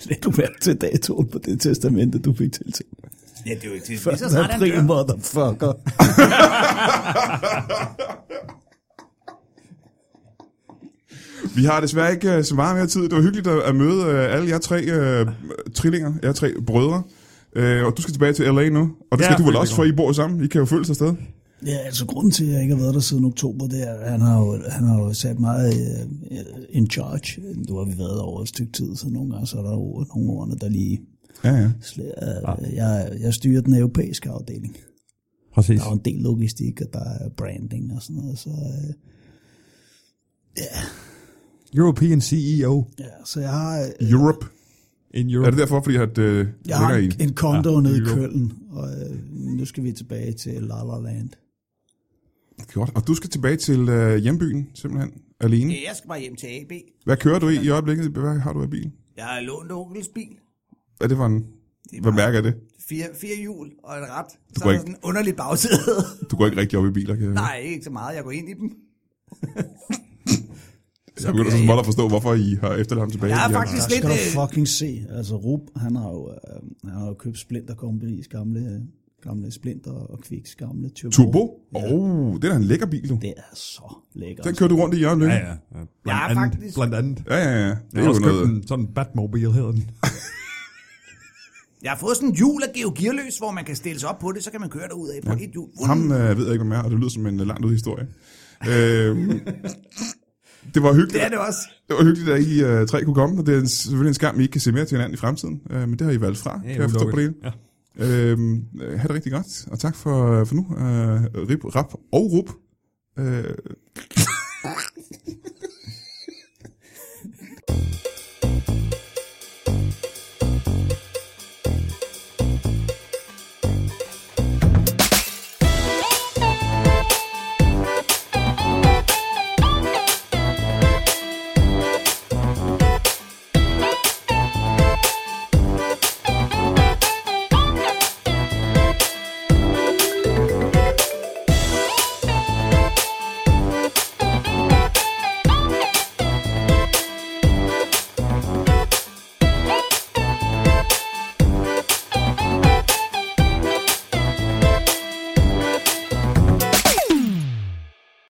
C: Læg du mærke til datoen på det testamente, du fik til til.
B: Ja, det er jo ikke til. Lige så
C: 1.
B: snart han
C: april,
B: dør.
C: motherfucker.
E: Vi har desværre ikke øh, så meget mere tid. Det var hyggeligt at, at møde øh, alle jer tre øh, trillinger, jer tre brødre. Øh, og du skal tilbage til LA nu, og det
D: Ja,
E: skal du vel
D: det
E: også,
D: går.
E: for I bor sammen. I kan jo følge sig afsted.
C: Ja, altså grunden til, at jeg ikke har været der siden oktober, det er, at han har jo, han har jo sat meget uh, in charge. Nu har vi været der over et stykke tid, så nogle gange så er der jo nogle ordene, der lige...
E: Ja, ja.
C: Slæder. Uh, jeg, jeg styrer den europæiske afdeling.
D: Præcis.
C: Der er jo en del logistik, og der er branding og sådan noget, så... Uh,
D: European CEO
C: ja, så jeg har, øh,
E: Europe.
D: in
E: Er
D: Europe.
E: det derfor, fordi at, øh,
C: jeg har
E: ligger
C: en,
E: i-
C: en kondo ja, nede i
D: Europe.
C: Køln, og øh, nu skal vi tilbage til La La Land.
E: Godt. Og du skal tilbage til øh, hjembyen, simpelthen, alene.
B: Ja, jeg skal bare hjem til AB.
E: Hvad kører du i i øjeblikket? Hvad har du af bil?
B: Jeg har lånt onkels bil.
E: Er det for en... Hvad mærker det?
B: Fire, fire hjul og et ret. Så er
E: går
B: der
E: ikke-
B: sådan en underlig bagsæde.
E: Du går ikke rigtig op i biler, kan jeg høre.
B: Nej, ikke så meget. Jeg går ind i dem.
E: Jeg begynder så småt at forstå, hvorfor I har efterladt ham tilbage.
B: Jeg er
E: I har-
C: Der
B: faktisk
C: skal
B: lidt...
C: du
B: øh,
C: fucking se. Altså, Rup, han har jo, øh, han har jo købt Splinter Company's gamle, øh, gamle Splinter og Kviks gamle Turbo.
E: Turbo? Åh, oh, det er da en lækker bil, du.
C: Det er så lækkert.
E: Den kører du rundt i i øjeblikket.
D: Ja, ja. ja. Blandt
B: er
D: andet,
B: faktisk-
D: Blandt andet.
E: Ja, ja, ja. Det
D: Jeg
E: er
D: har
E: jo
D: også købt
E: noget...
D: en sådan Batmobile, hedder den.
B: Jeg har fået sådan en hjul af Geo Gearløs, hvor man kan stille sig op på det, så kan man køre derud af på et hjul.
E: Ham øh, ved jeg ikke, hvad med, og det lyder som en øh, langt ud historie. Øh, det var hyggeligt.
B: Det er det også.
E: Det var hyggeligt, at I øh, tre kunne komme, og det er en, selvfølgelig en skam, I ikke kan se mere til hinanden i fremtiden, øh, men det har I valgt fra, ja, kan jeg forstå på det hele.
D: Ja.
E: Øhm, øh, ha' det rigtig godt, og tak for, for nu. Øh, rip, rap og rup. Øh,